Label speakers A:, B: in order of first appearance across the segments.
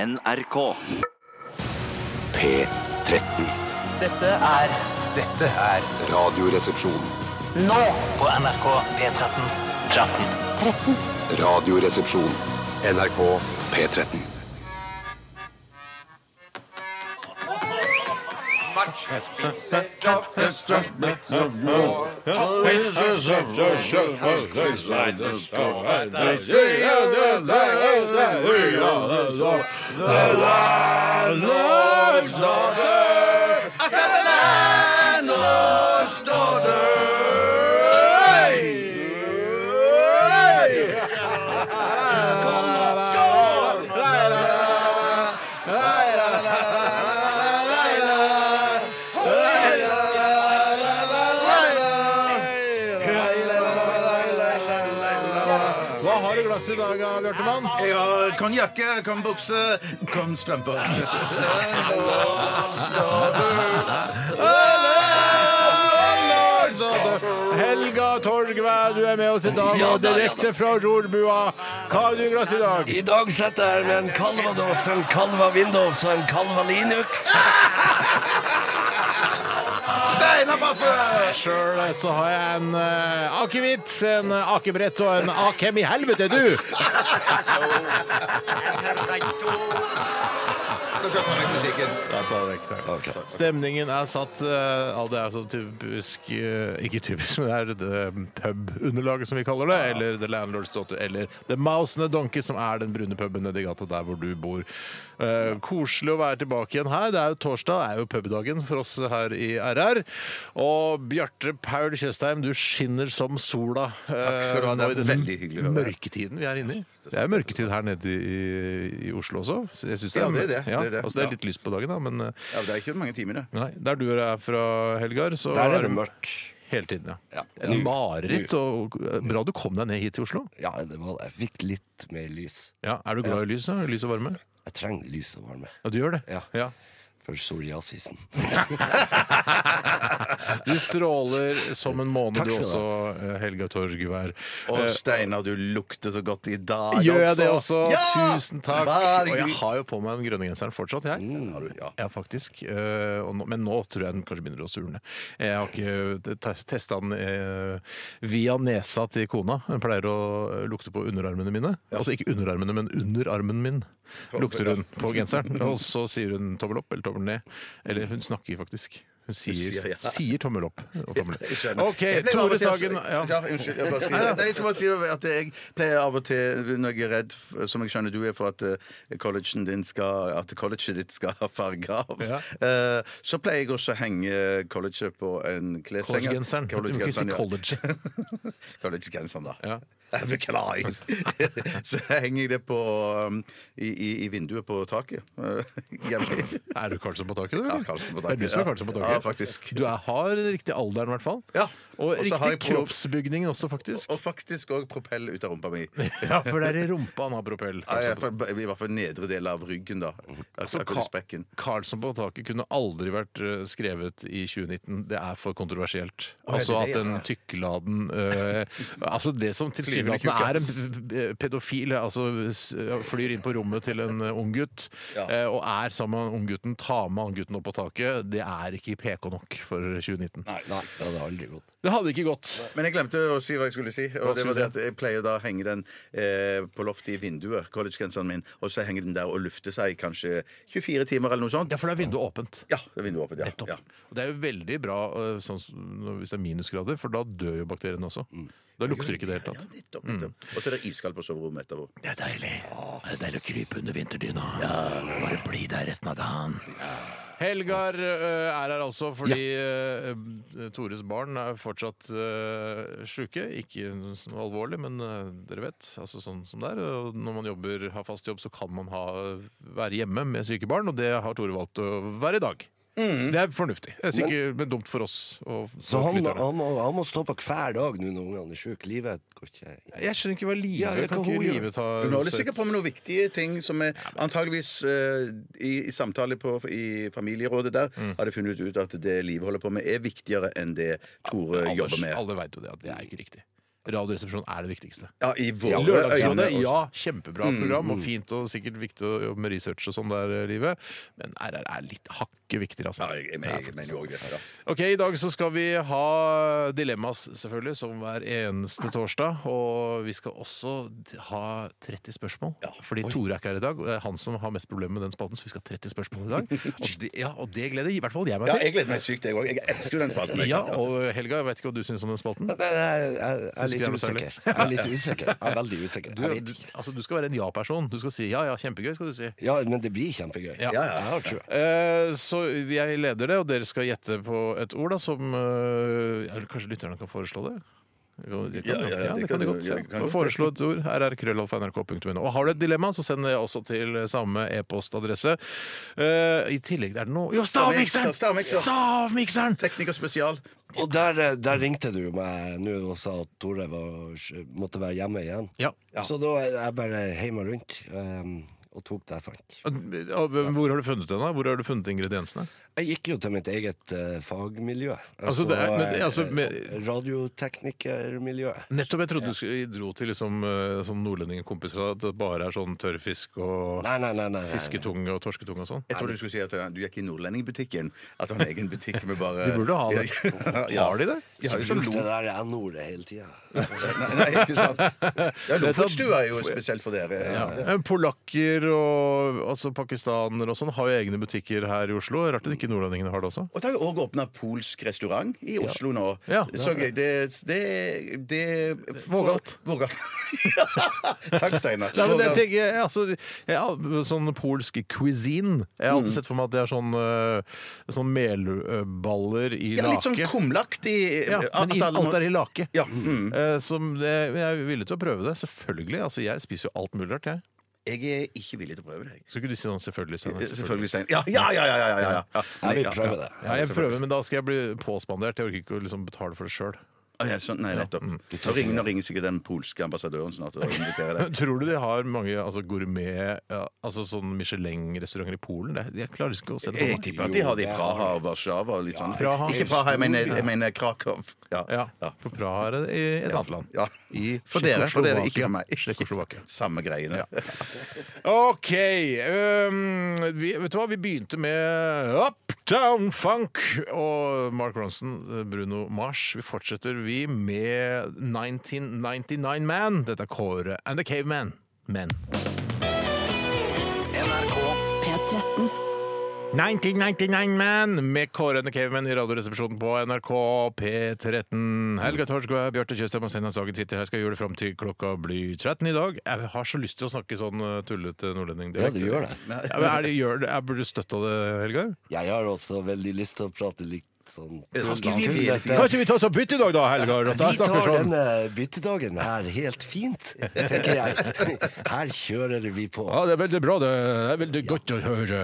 A: NRK.
B: P13.
C: Dette er
D: Dette er
B: Radioresepsjon.
C: nå
D: på NRK P13.
B: Radioresepsjon. NRK P13.
E: Hva har du i glasset i dag, Bjartemann?
F: Ja, kan jakke, kan bukse, kan strømpe.
E: Helga Torgvær, du er med oss i dag, og direkte fra Rorbua. Hva har du i glasset i dag?
G: I dag sitter jeg her med en Calvados, en Calva Windows og en Calva Linux.
F: Steinar Basse!
E: Sjøl så har jeg en uh, akevitt, en akebrett og en akem i helvete, du! Da tar jeg vekk det. Stemningen er satt eh, ja, Det er så typisk eh, Ikke typisk, men det er det eh, pubunderlaget som vi kaller det. Eller The Landlord's Daughter. Eller The Mouse and the Donkey, som er den brune puben nedi gata der hvor du bor. Eh, koselig å være tilbake igjen her. Det er jo torsdag, det er jo pubdagen for oss her i RR. Og Bjarte Paul Tjøstheim, du skinner som sola. eh, Takk
F: skal du ha, det er veldig hyggelig å være her.
E: Mørketiden vi er inne i. Det er mørketid her nede i, i Oslo også. Så jeg synes det,
F: Ja,
E: er,
F: det er det.
E: Ja,
F: Det er det.
E: Altså det
F: Ja.
E: er litt lyst på dagen, da, men eh,
F: Ja, det er ikke mange timer, det.
E: Nei, Der du er fra, Helgar, så
G: Der er det mørkt.
E: hele tiden. ja.
G: Ja.
E: En mareritt. og eh, Bra du kom deg ned hit til Oslo.
G: Ja, det var Jeg fikk litt mer lys.
E: Ja, Er du glad i lys? da? Lys og varme?
G: Jeg trenger lys og varme
E: Ja, du gjør det?
G: Ja. for psoriasisen.
E: Du stråler som en måne,
G: Takk
E: du
G: skal du
E: også, eh, Helga Torgvær.
F: Å,
E: Eh,
F: Steinar, du lukter så godt i dag altså.
E: Gjør jeg det også?
F: Ja!
E: Tusen takk.
F: Vær
E: Og jeg
F: god.
E: har jo på meg den grønne genseren fortsatt, jeg.
F: Mm, Ja.
E: Ja, faktisk. Eh, og nå, men nå tror jeg den kanskje begynner å surne. Jeg har ikke eh, testa den eh, via nesa til kona. Hun pleier å eh, lukte på underarmene mine. Altså ikke underarmene, men under armen min lukter hun på genseren. Og så sier hun tommel opp eller tommel ned. Eller hun snakker faktisk. Hun sier,
F: sier ja.
E: sier tommel opp og tommel ned.
F: Skjønner.
E: OK,
F: Jeg pleier av og
E: Tore
F: til-
E: Sagen.
F: Ja,
E: Ja.
F: unnskyld. Jeg, bare sier, nei, jeg skal bare si at jeg pleier av og til, når jeg er redd, f- som jeg skjønner du er for at eh, collegen din skal, at colleget ditt skal ha farge av,
E: Ja.
F: eh, så pleier jeg også å henge colleget på en klesseng.
E: Collegegenseren. Du må ikke si
F: ja.
E: college.
F: Collegegenseren, da.
E: Ja.
F: Jeg Beklager. Så henger jeg det på um, i, i, i vinduet på taket. Eh, hjemme.
E: Er du Karlsson på taket, du? eller?
F: Ja, Karlsson på taket,
E: Det er du som er
F: ja.
E: Karlsson på taket.
F: Ja, faktisk.
E: Du er, har riktig alderen, i hvert fall.
F: Ja,
E: Og
F: og så har
E: riktig
F: jeg pro-
E: kroppsbygning også, faktisk.
F: Og faktisk òg propell ut av rumpa mi.
E: Ja, for det er i rumpa han har propell.
F: Ja, i hvert
E: Karlsson på-
F: fall- I hvert fall nedre del av ryggen, da. Altså,
E: Mm. Så Ka-
F: akkurat
E: Karlsson på taket kunne aldri vært eh, skrevet i 2019. Det er for kontroversielt.
F: er
E: Altså at
F: det det,
E: den
F: ja?
E: tykkladen eh, Altså det som tilsynelatende
F: kuk,
E: er en
F: ass.
E: eh, pedofil, altså s- flyr inn på rommet til en eh, ung gutt eh, og er sammen med unggutten, tar med unggutten opp på taket, det er ikke PK nok for 2019.
G: Nei, det hadde aldri gått.
E: Det hadde ikke gått.
F: Men jeg glemte å si hva jeg skulle si.
E: Hva
F: Og det
E: skulle
F: var
E: du
F: det
E: si?
F: at Jeg pleier da å henge den eh, på loftet i vinduet, collegegenseren min, og så henger den der og lufter seg i kanskje 24 timer eller noe sånt.
E: Ja, for det er vinduet åpent.
F: Ja, det er vinduet åpent.
E: Nettopp.
F: Ja. ja.
E: Og det er jo veldig bra øh, sånn, som når- hvis det er minusgrader, for da dør jo bakteriene også.
G: Mm.
E: Da lukter det ikke i det hele
F: Ja,
E: tatt.
F: nettopp, nettopp.
E: Mm.
F: Og så er det iskaldt på soverommet etterpå.
E: Det er deilig. Det er deilig å krype under vinterdyna. Bare bli der resten av dagen. Helgar øh, er her altså fordi øh, Tores barn er fortsatt øh, sjuke. Ikke noe alvorlig, men øh, dere vet, altså sånn som det er. Og når man jobber, har fast jobb, så kan man ha, være hjemme med syke barn, og det har Tore valgt å være i dag. Det er fornuftig. Det er sikkert men, dumt for oss. Og
G: Mm. Så
E: for
G: han,
E: lytterne.
G: han, må, han må stå på hver dag nå når ungene er sjuke. Livet går ikke
E: Jeg skjønner ikke hva livet
G: Ja, jeg
E: Kan
G: kan
E: ikke
G: hun
E: livet ta
F: Hun holder sikkert på med noen viktige ting som er antageligvis eh, i, i samtale på, i familierådet der
E: Mm.
F: har de funnet ut at det livet holder på med, er viktigere enn det Tore
E: Alle-
F: eh, jobber med.
E: Alle veit jo det, at det er ikke riktig. Radioresepsjon er det viktigste.
F: Ja, Mm, i våre øyne.
E: Lørdagsrådet,
F: også.
E: ja, kjempebra program og fint og sikkert viktig å jobbe med research og sånn der, eh, livet. Men RR er litt hakket viktigere, altså.
F: Ja, jeg, jeg, jeg, mener jo også det. Ja.
E: Ok, I dag så skal vi ha dilemmas, selvfølgelig, som hver
F: Ah.
E: eneste torsdag. Og vi skal også ha 30 spørsmål. Fordi Tore er ikke her i dag, og det er han som har mest problemer med den spalten. Så vi skal ha 30 spørsmål i dag. Og det, ja, og det gleder i hvert fall jeg meg
F: Ja,
E: til.
F: jeg gleder meg sykt, jeg òg. Jeg elsker jo den spalten. jeg.
E: Ja, og Helga, jeg vet ikke hva du syns om den spalten.
G: Jeg er, jeg er
E: Synes
G: litt
E: ikke det var særlig.
G: usikker. Jeg er litt usikker. Jeg er veldig usikker.
E: Du,
G: Jeg vet
E: du,
G: ikke.
E: altså, du skal være en ja-person. Du skal si ja, ja, kjempegøy. skal du si
G: Ja, men det blir kjempegøy.
E: Ja.
G: ja, jeg har trua.
E: Eh, Så jeg leder det, og dere skal gjette på et ord da, som eh, eller Kanskje lytterne kan foreslå det? Jo, de kan,
F: Ja, ja,
E: ja, det kan de godt.
F: ja,
E: Ja.
F: det kan de godt.
E: Foreslå et ord. rrkrøllalfa.nrk.no. Og har du et dilemma, så send det også til samme e-postadresse. Eh, I tillegg er det noe Jo, stavmikseren!
F: Stavmikser, stavmikser!
E: Stavmikseren!
F: Tekniker spesial.
G: Og der, eh, der ringte du meg nå og sa at Tore var, måtte være hjemme igjen.
E: Ja.
G: Så da er jeg bare hjemme rundt eh, og tok det jeg fant.
E: eh, Og Hvor har du funnet den, da? Hvor har du funnet ingrediensene?
G: Jeg gikk jo til mitt eget eh, fagmiljø.
E: Altså, det er- men det- altså, med-
G: eh, Radioteknikermiljøet.
E: Nettopp! Jeg trodde du skulle- dro til liksom, eh, som nordlendingkompiser at det bare er sånn tørrfisk og
G: Nei, nei, nei. nei, nei.
E: fisketunge og torsketunge og sånn.
F: Jeg trodde du skulle si at han- du gikk i Nordlendingbutikken. At han har egen butikk med bare
E: De burde ha det.
F: Ja.
E: Har de det?
F: De har jo sånn
G: Bruk det
F: lo...
G: der N-ordet hele tida.
F: Nei, nei, ikke sant. Ja, Lofotstua er jo spesielt for dere.
E: Ja. Eh, Polakker og altså pakistanere og sånn har jo egne butikker her i Oslo. Rart at ikke nordlendingene har det også.
F: Og det har jo òg åpna polsk restaurant i Oslo nå.
E: Ja.
F: Så jeg det, det, det
E: Vågalt.
F: Vågalt. Takk, Steinar.
E: Nei, men det,
F: Vågalt.
E: jeg, tenker, altså, jeg, har sånn polsk cuisine Jeg har alltid sett for meg at det er sånn, eh, sånn melballer i
F: ja,
E: lake.
F: litt sånn kumlaktig eh,
E: ja, men i, alt er i lake.
F: ja, mm.
E: Eh, Som det, jeg er villig til å prøve det. Selvfølgelig. Altså, jeg spiser jo alt mulig rart, jeg.
F: Jeg er ikke villig til å prøve det. jeg.
E: Skulle ikke du si sånn selvfølgelig, Steinar?
F: Eh, Selvfølgelig, Stein. Ja, ja, ja! ja, ja, ja, ja, ja.
G: Jeg vil prøve det.
E: Ja, jeg prøver, men da skal jeg bli påspandert. Jeg orker ikke å liksom betale for det sjøl.
F: Å, ja, sånn, nei, nettopp.
E: Mm.
F: Nå ringer, nå ringer sikkert den polske ambassadøren snart og inviterer deg.
E: Tror du de har mange altså, gourmet ja, altså sånn Michelin-restauranter i Polen? Det- Jeg klarer liksom ikke å se det for
F: Jeg
E: meg.
F: tipper at de har det i Praha og Warszawa. og Litt sånn.
E: Praha.
F: Ikke Praha, jeg mener, jeg mener Krakow. Ja.
E: Ja,
F: Ja.
E: For Praha er det i et annet land.
F: Ja.
E: I
F: For dere, for dere, ikke for meg.
E: Tsjekkoslovakia.
F: Samme greiene.
E: OK. Um, vi, vet du hva, vi begynte med Uptown Funk og Mark Ronson, eh, Bruno Mars. Vi fortsetter, vi, med 1999 Man. Dette er Kåre and The Caveman. Men.
D: NRK
A: P13.
E: 1999 Man med Kåre and the Caveman i Radioresepsjonen på NRK P13. Helga Torskva, Bjarte Tjøstheim og Steinar Sagen sitter her. Skal gjøre det fram til klokka blir 13 i dag. Jeg har så lyst til å snakke sånn eh, tullete nordlending
G: Ja, det gjør det.
E: Ja, men er det, gjør det. Jeg burde støtta det, Helga.
G: Jeg har også veldig lyst til å prate litt sånn
F: Kan ikke vi-
G: tullete.
E: Kanskje vi tar så bytt i dag, da, Helga?
G: Vi
E: At jeg
G: tar
E: snakker sånn.
G: denne byttedagen her helt fint, tenker jeg. Her kjører vi på.
E: Ja, det er veldig bra. Det er veldig godt å høre.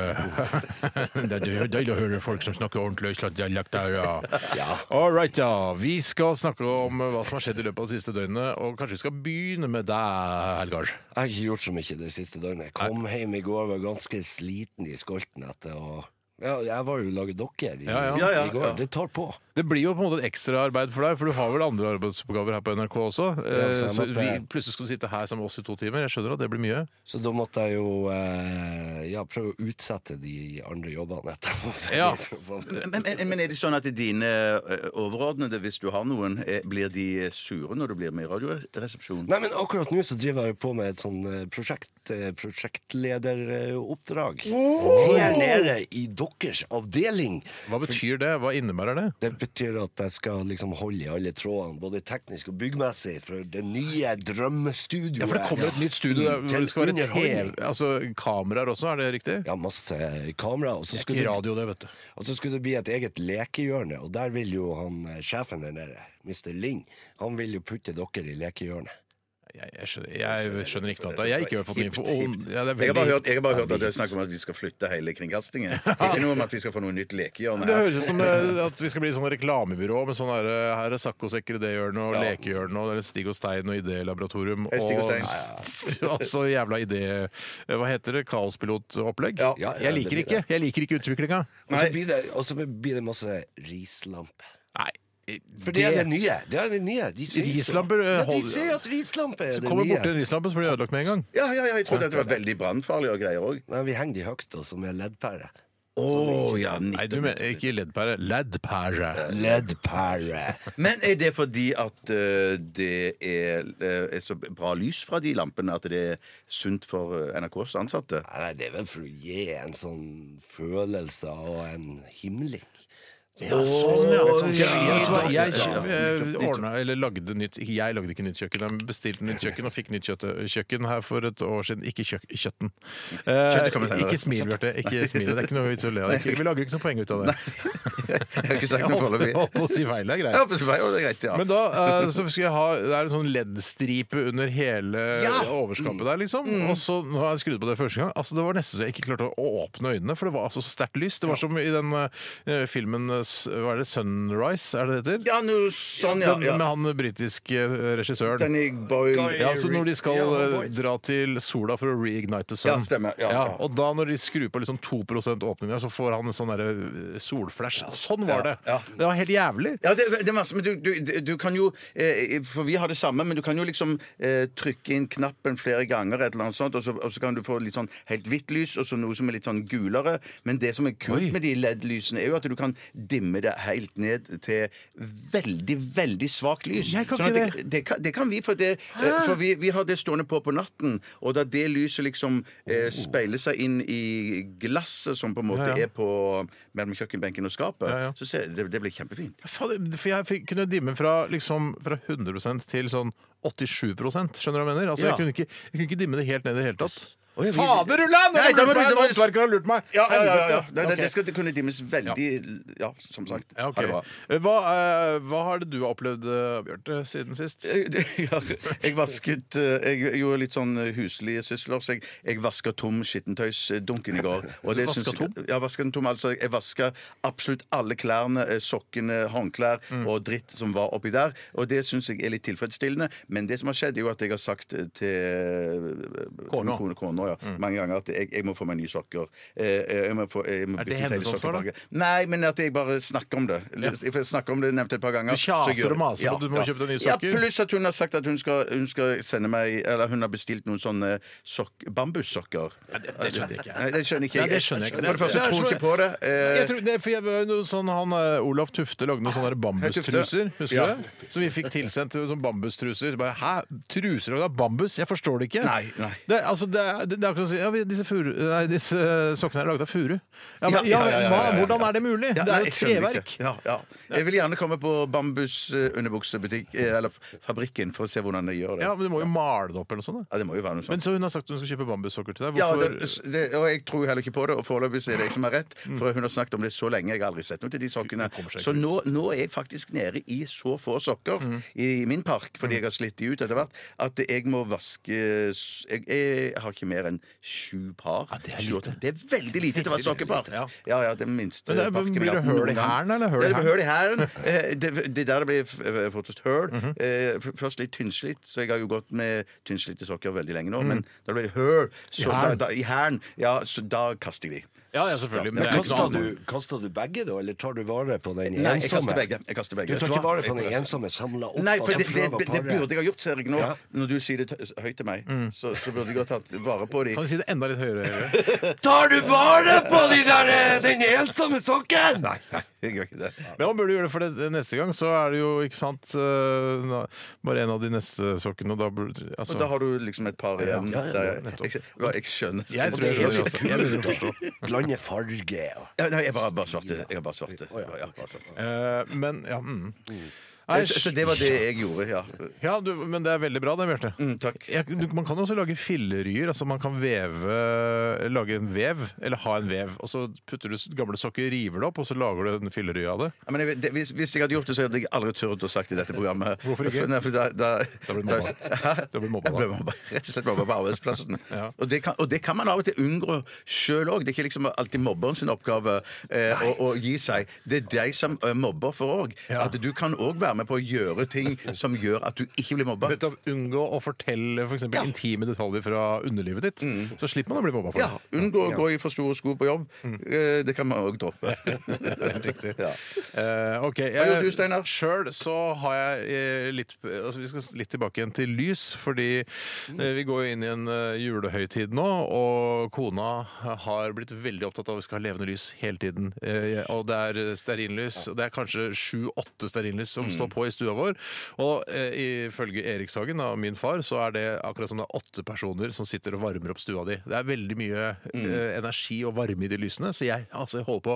E: Det er deilig å høre folk som snakker ordentlig østlandsdialekt der, ja.
G: Ja.
E: All right, ja. Vi skal snakke om hva som har skjedd i løpet av de siste døgnet, og kanskje vi skal begynne med deg, Helgar.
G: Jeg har ikke gjort så mye det siste døgnet. Jeg kom hjem i går, var ganske sliten i skolten etter å ja, Jeg var jo og laget dokker i,
E: Ja, ja.
F: Ja, ja,
G: i går.
F: ja.
G: Det tar på.
E: Det blir jo på en måte et ekstraarbeid for deg, for du har vel andre arbeidsoppgaver her på NRK også. Eh,
G: så jeg
E: Så
G: måtte-
E: vi, plutselig skal du sitte her sammen med oss i to timer. Jeg skjønner at det blir mye.
G: Så da måtte jeg jo eh, ja, prøve å utsette de andre jobbene etter jeg var ferdig.
E: Ja.
G: for å få-
F: Men, men, men er det sånn at dine eh, overordnede, hvis du har noen, eh, blir de sure når du blir med i Radioresepsjonen?
G: Nei, men akkurat nå så driver jeg jo på med et sånn eh, prosjekt, eh, prosjektlederoppdrag. Her nede i deres avdeling.
E: Hva betyr det? Hva innebærer det?
G: Det betyr at jeg skal liksom holde i alle trådene, både teknisk og byggmessig, for det nye drømmestudioet.
E: Ja, for det kommer et nytt studio der
G: Mm,
E: hvor
G: til
E: det skal være TV,
G: underholdning.
E: altså kameraer også, er det riktig?
G: Ja, masse kamera. Og så
E: Ikke
G: skulle, det,
E: radio, det, vet du.
G: og så skulle det bli et eget lekehjørne, og der vil jo han eh, sjefen der nede, Mr. Ling, han vil jo putte dere i lekehjørnet.
E: Jeg, jeg, skjønner, jeg skjønner ikke noe av det. Jeg ikke har fått noe info om ja, det. Er
F: Jeg har bare hørt,
E: veldig,
F: jeg har bare hørt at det er snakk om at vi skal flytte hele kringkastingen. Ikke noe om at vi skal få noe nytt lekehjørne
E: det
F: her.
E: høres ut som eh, at vi skal bli sånn reklamebyrå med sånn her, eh, her er saccosekker i det hjørnet og lekehjørnet og det er Stig og Stein og idélaboratorium
F: Hei, Stig og Stein.
E: og altså jævla idé... eh, Hva heter det? Kaospilotopplegg?
F: Ja.
G: Ja, ja,
E: jeg
G: det
E: liker
G: blir
E: ikke. Jeg liker ikke utviklinga.
G: Og så
F: Nei.
G: blir det, og så blir det masse rislampe.
E: Nei.
G: For det er det nye. Det er det nye. De sier så.
E: Rislamper, eh,
G: Ja, de
E: holder-
G: sier at rislampe er
E: Så
G: det
E: kommer du
G: nye.
E: borti en islampe, så blir det ødelagt med en gang.
F: Ja, ja, ja, jeg trodde at det var veldig brannfarlig og greier òg.
G: Nei, vi henger de høyt, da, som er leddpære.
F: Å ja,
E: Nei, du mener ikke leddpære. Leddpære.
G: Leddpære.
F: Men er det fordi at eh, det er, eh, er så bra lys fra de lampene at det er sunt for eh, NRKs ansatte?
G: Nei, det er vel for å gi en sånn følelse av en himling. Ja,
F: sånn, ja. Sånn
E: Ja, vet du hva?
F: Ja,
E: Jeg
F: ja,
E: jeg
F: nytt opp- nytt
E: ordnet, eller lagde nytt ikke Jeg lagde ikke nytt kjøkken. Jeg bestilte nytt kjøkken og fikk nytt kjøtt, kjøkken her for et år siden. Ikke kjøk, kjøtten. Eh,
F: Kjøttet kommer senere.
E: ikke smil, Bjarte. Ikke smil. Det er ikke noe vits i å le av det. Ikke- Vi lager ikke noe poeng ut av det.
F: Jeg har ikke sagt
E: Jeg
F: noe
E: holdt
F: foreløpig.
E: holdt på å si feil. Det er
F: Ja,
E: greit.
F: men så var jo det greit, ja.
E: Men da eh, så skal jeg ha Det er en sånn leddstripe under hele overskapet der, liksom.
F: Mm.
E: Og så nå har jeg skrudd på det første gang. Altså, det var nesten så jeg ikke klarte å åpne øynene, for det var altså så sterkt lys. Det var som i den eh, filmen eh, s- Hva er det? 'Sunrise'? Er det det heter?
F: ja, noe sånn, ja.
E: Den,
F: ja.
E: med han britiske eh, regissøren.
F: Danny Boyle
E: Ja, så når de skal
G: Ja,
E: eh,
G: boy.
E: dra til sola for å reignite the sun.
F: Ja, stemmer. Ja, ja.
E: og da når de skrur på liksom 2 åpning der, så får han en sånn derre eh, solflash. Sånn var det!
F: Ja, ja.
E: Det var helt jævlig.
F: Ja, det, det er masse, men du, du, du kan jo eh, For vi har det samme, men du kan jo liksom eh, trykke inn knappen flere ganger, et eller annet sånt, og så, og så kan du få litt sånn helt hvitt lys, og så noe som er litt sånn gulere. Men det som er kult
E: Oi.
F: med de LED-lysene, er jo at du kan dimme det helt ned til veldig, veldig svakt lys.
E: Jeg kan
F: Sånn
E: ikke Ah.
F: at det, det, kan, det kan vi, for, det, eh, for vi, vi har det stående på på natten, og da det lyset liksom eh, speiler seg inn i glasset som på en måte
E: Oh. Ja, ja.
F: er på mellom kjøkkenbenken og skapet,
E: Ja, ja.
F: så ser, det, det blir kjempefint.
E: Faen, For jeg fikk- kunne dimme fra, liksom, fra 100 til sånn 87 skjønner du hva jeg mener? Altså,
F: Ja.
E: jeg, kunne ikke, jeg kunne ikke dimme det helt ned i det hele tatt.
F: Å, ja, vi-
E: Fader ulland!
F: Nei,
E: Jeg
F: da
E: har
F: må
E: blitt
F: du-
E: meg
F: da
E: en
F: må du-
E: håndverker har lurt meg!
F: Ja, ja, ja, ja.
E: Helvete.
F: Det, det, det
E: Ok.
F: skal kunne dimmes veldig Ja, som sagt.
E: Ja, ok.
F: Ha det bra.
E: hva, eh, hva har det du har opplevd, eh, Bjarte, siden sist?
F: Ja, Jeg vasket eh, Jeg gjorde litt sånn huslige sysler. Så jeg, jeg vaska tom skittentøysdunken i går. Og
E: Du vasket
F: syns jeg-
E: tom?
F: Ja, vasket den tom. Altså, jeg vaska absolutt alle klærne, eh, sokkene, håndklær
E: Mm.
F: og dritt som var oppi der. Og det syns jeg er litt tilfredsstillende. Men det som har skjedd, er jo at jeg har sagt eh, til til
E: Kona. Mm.
F: min kone, kona ja, mange ganger at jeg, jeg må få meg nye sokker. Eh, eh, Jeg må få, jeg må
E: Er det
F: bytte ut hele
E: hennes ansvar, da?
F: sokkeplagget. Nei, men at jeg bare snakker om det. For Jeg snakker om det nevnt et par ganger.
E: Du
F: så jeg
E: kjaser
F: gjør-
E: og maser på at du må kjøpe deg nye
F: Ja,
E: sokker.
F: pluss Pluss at hun har sagt at hun skal, hun skal sende meg Eller hun har bestilt noen sånne sokk, bambussokker.
E: det- det skjønner jeg ikke.
F: Nei, det skjønner ikke
E: Nei, det skjønner jeg ikke.
F: For det første
E: Det er
F: tror
E: som-
F: jeg ikke på det. eh,
E: Jeg tror, det, for jeg var jo noe sånn, han, eh, Olav Tufte lagde noen sånne der bambustruser,
F: Hei, Tufte.
E: husker
F: Ja.
E: du? det? Som vi fikk tilsendt som bambustruser. Bare, Hæ? Truser lagd av bambus? Jeg forstår det ikke.
F: Nei, nei.
E: Det, er- altså, det, er- det, det er akkurat som å si ja, vi- disse, furu, nei, disse eh, sokkene er lagd av furu. Ja, men, ja,
F: Ja, ja, ja, ja,
E: hva,
F: ja, ja.
E: hvordan er det mulig?
F: ja,
E: det
F: nei,
E: er jo
F: jeg
E: et
F: skjønner det
E: treverk.
F: ikke. Ja, ja. Jeg vil gjerne komme på bambusunderbuksebutikk eh, Eller f- fabrikken for å se hvordan de gjør det.
E: Ja, men du må jo male det opp eller noe sånt. da.
F: Ja, det må jo være noe sånt.
E: Men så hun har sagt hun skal kjøpe bambussokker til deg.
F: Ja,
E: Hvorfor?
F: det, det, og jeg tror heller ikke på det, og foreløpig så er det jeg som har rett. For hun har snakket om det så lenge, jeg har aldri sett noe til de sokkene.
E: Det kommer seg ikke Mhm.
F: Så nå, nå er jeg faktisk nede i så få sokker i min park, fordi jeg har slitt de ut etter hvert, at jeg må vaske s- Jeg, jeg har ikke mer enn sju par.
E: det er
F: Sju-
E: lite.
F: det er veldig lite til å være
E: Veldig, veldig
F: sokkepark.
E: lite, ja.
F: Ja. ja, det er minste
E: Men det er-
F: parken
E: blir det
F: jeg har hatt
E: høl i
F: noen gang.
E: hælen, eller høl i
F: Ja, det blir høl i hælen. Eh, Det det er der det blir f- eh, fortest høl. Eh, f- Først litt tynnslitt, så jeg har jo gått med tynnslitte sokker veldig lenge nå, men da blir det høl. Så
E: I hælen.
F: da- da- I hæren. Ja, så da kaster jeg de.
E: ja, ja, selvfølgelig. Men det er ikke noe
G: Kaster
E: annet.
G: du, kaster du begge, da, eller tar du vare på den
F: Nei, jeg kaster
G: ensomme?
F: begge. Jeg kaster begge.
G: Du
F: Vet
G: tar ikke
F: du hva?
G: vare på den
F: Jeg-
G: ensomme samla opp?
F: Nei,
G: og
F: for
G: så
F: det, det,
G: prøver å
F: det, det
G: pare?
F: burde jeg ha gjort, ser jeg nå.
G: Ja.
F: Når du sier det t- høyt til meg, så, så burde jeg ha tatt vare på de.
E: Kan du si det enda litt høyere? Høyre?
G: Tar du vare på de der, eh, den ensomme sokken?! Nei, nei.
F: Jeg gjør ikke det.
E: Men man burde gjøre det, for det, neste gang så er det jo, ikke sant, eh, na- bare en av de neste sokkene, og da burde altså,
F: Og da har du liksom et par igjen.
G: Ja, ja,
F: der jeg-
E: nettopp.
F: jeg, hva, jeg skjønner.
E: Jeg tror jeg
G: det
E: skjønner
G: er
E: det
G: jo
E: også. Jeg begynner å forstå.
G: Blande farge og
F: Ja, nei, jeg bare bare svarte. Jeg har bare svarte.
G: Å, ja.
F: Ja, bare svarte.
E: Eh, Men ja, mm. Nei,
F: Eh, Så, så det var det jeg gjorde, ja.
E: ja du, men det er veldig bra det, Bjarte.
F: Mm, takk.
E: Jeg- du- Man kan jo også lage filleryer. altså Man kan veve lage en vev, eller ha en vev. Og så putter du s- gamle sokker, river det opp, og så lager du en fillerye av det.
F: Ja, men jeg, det, hvis, hvis jeg hadde gjort det, så hadde jeg aldri turt å sagt det i dette programmet.
E: Hvorfor ikke?
F: For, nei, for da, da,
E: Da blir du mobba.
F: Hæ?
E: Da blir du mobba,
F: Jeg
E: da.
F: ble mobba. Rett og slett mobba på arbeidsplassen.
E: Ja.
F: og, det kan, og det kan man av og til unngå sjøl òg. Det er ikke liksom alltid mobberen sin oppgave eh, å, å gi seg. Det er deg som eh, mobber for òg. At du kan òg være være med på å gjøre ting som gjør at du ikke blir mobba.
E: Nettopp unngå å fortelle for eksempel, intime detaljer fra underlivet ditt. Så slipper man å bli mobba for
F: Mm. Ja, Unngå å gå i for store sko på jobb. Eh, Det kan man òg droppe.
E: Mm. det. Helt riktig.
F: Ja.
E: Eh, ok,
F: gjorde du, Steinar?
E: Sjøl så har jeg eh, litt altså, Vi skal litt tilbake igjen til lys, fordi
F: Mm.
E: eh, vi går jo inn i en eh, julehøytid nå, og kona har blitt veldig opptatt av at vi skal ha levende lys hele tiden. Eh, og det er eh, stearinlys, og det er kanskje sju-åtte stearinlys som står på i stua vår. Og eh, ifølge Erikshagen, da, min far, så er det akkurat som det er åtte personer som sitter og varmer opp stua di. Det er veldig mye
F: Mm.
E: eh, energi og varme i de lysene, så jeg, altså, jeg holder på,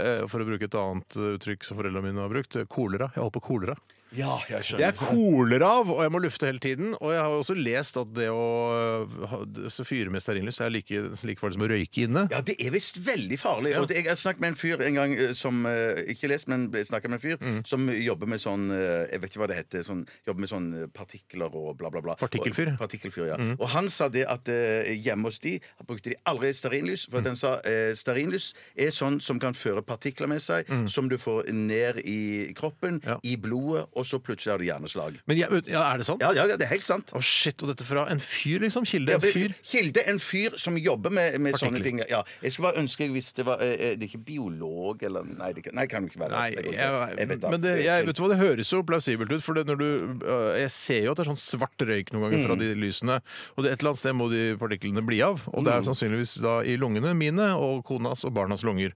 E: eh, for å bruke et annet eh, uttrykk som foreldrene mine har brukt, kolera. Jeg holder på kolera.
G: Ja, jeg skjønner.
E: Jeg koler av, og jeg må lufte hele tiden. Og jeg har også lest at det å øh, ha- det- så fyre med stearinlys er like, nesten like farlig som å røyke inne.
F: Ja, det er visst veldig farlig. Og det, jeg har snakket med en fyr en gang eh, som eh, Ikke lest, men ble snakket med en fyr som jobber med sånn eh, Jeg vet ikke hva det heter. Sånn, jobber med sånn eh, partikler og bla, bla, bla.
E: Partikkelfyr?
F: Og, partikkelfyr, ja. Og han sa det at eh, hjemme hos de brukte de aldri stearinlys. For at han sa eh, stearinlys er sånn som kan føre partikler med seg, som du får ned i kroppen,
E: Ja.
F: i blodet, og så plutselig har du hjerneslag.
E: Men jeg, ja, er det sant?
F: Ja, ja, ja, det er helt sant.
E: Å shit, og dette fra en fyr, liksom? Kilde?
F: Ja,
E: En
F: men-
E: fyr?
F: Kilde, en fyr som jobber med, med sånne
E: Partikler.
F: ting. Ja, jeg skulle bare ønske jeg visste det var eh, eh, Det er ikke biolog eller Nei, det kan, nei, kan du ikke være
E: Nei,
F: det. går
E: jeg,
F: ikke. Jeg vet da.
E: men det, jeg, vet du hva, det høres jo plausibelt ut. For det, når du, øh, jeg ser jo at det er sånn svart røyk noen ganger
F: Mm.
E: fra de lysene. Og det, et eller annet sted må de partiklene bli av. Og
F: Mm.
E: det er sannsynligvis da i lungene mine og konas og barnas lunger.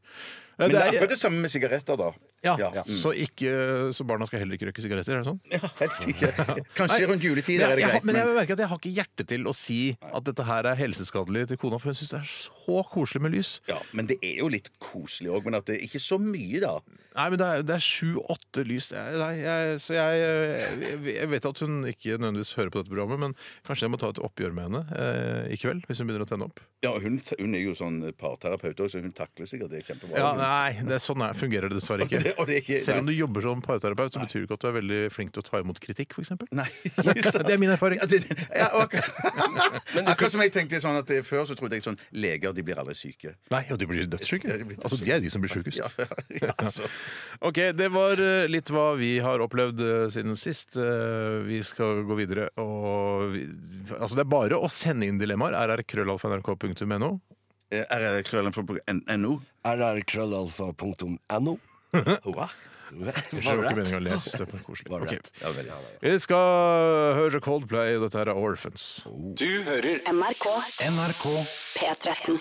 E: Eh,
F: Men det er
E: det er,
F: akkurat det samme med sigaretter, da.
E: ja,
F: ja. mm.
E: Så, ikke, så barna skal heller ikke røyke sigaretter? Er det sånn?
F: Ja, helst ikke. Kanskje
E: Nei,
F: rundt juletid
E: men
F: er det
E: jeg,
F: greit.
E: men
F: Men,
E: jeg merker at jeg har ikke hjerte til å si at dette her er helseskadelig til kona, for hun syns det er så koselig med lys.
F: ja, men det er jo litt koselig òg. Men at det er ikke så mye, da.
E: Nei, men det er, det er sju-åtte lys. Jeg, nei, jeg, så jeg, jeg, jeg vet at hun ikke nødvendigvis hører på dette programmet, men kanskje jeg må ta et oppgjør med henne eh, i kveld, hvis hun begynner å tenne opp.
F: Ja, hun, hun er jo sånn parterapeut òg, så hun takler sikkert det kjempebra.
E: Ja,
F: Hun-
E: nei, det er sånn er, fungerer det dessverre ikke.
F: Og det- og det er ikke-
E: Selv om du jobber som parterapeut, så betyr det ikke at du er veldig flink til å ta imot kritikk, f.eks.
F: Nei.
E: Det er min erfaring.
F: Ja, det, ja, ok. Akkurat som jeg tenkte sånn at eh, Før så trodde jeg sånn leger de blir aldri syke.
E: Nei, og de blir dødssyke.
F: Ja, de blir
E: Altså, de er de som blir sjukest.
F: Ja, ja, altså.
E: Ok, det var eh, litt hva vi har opplevd eh, siden sist. Eh, Vi skal gå videre og vi, Altså, det er bare å sende inn dilemmaer. rrkrøllalfa.nrk.no.
F: Eh, rrkrøllen.no.
G: rrkrøllalfa.no.
F: Hurra.
E: Det var ikke
G: rett.
E: meningen å le, jeg synes det var koselig.
G: Var
E: Ok.
G: rett.
F: Ja, veldig.
E: Vi skal høre Coldplay. Dette her er Orphans.
B: Du hører
A: NRK
D: NRK
A: P13.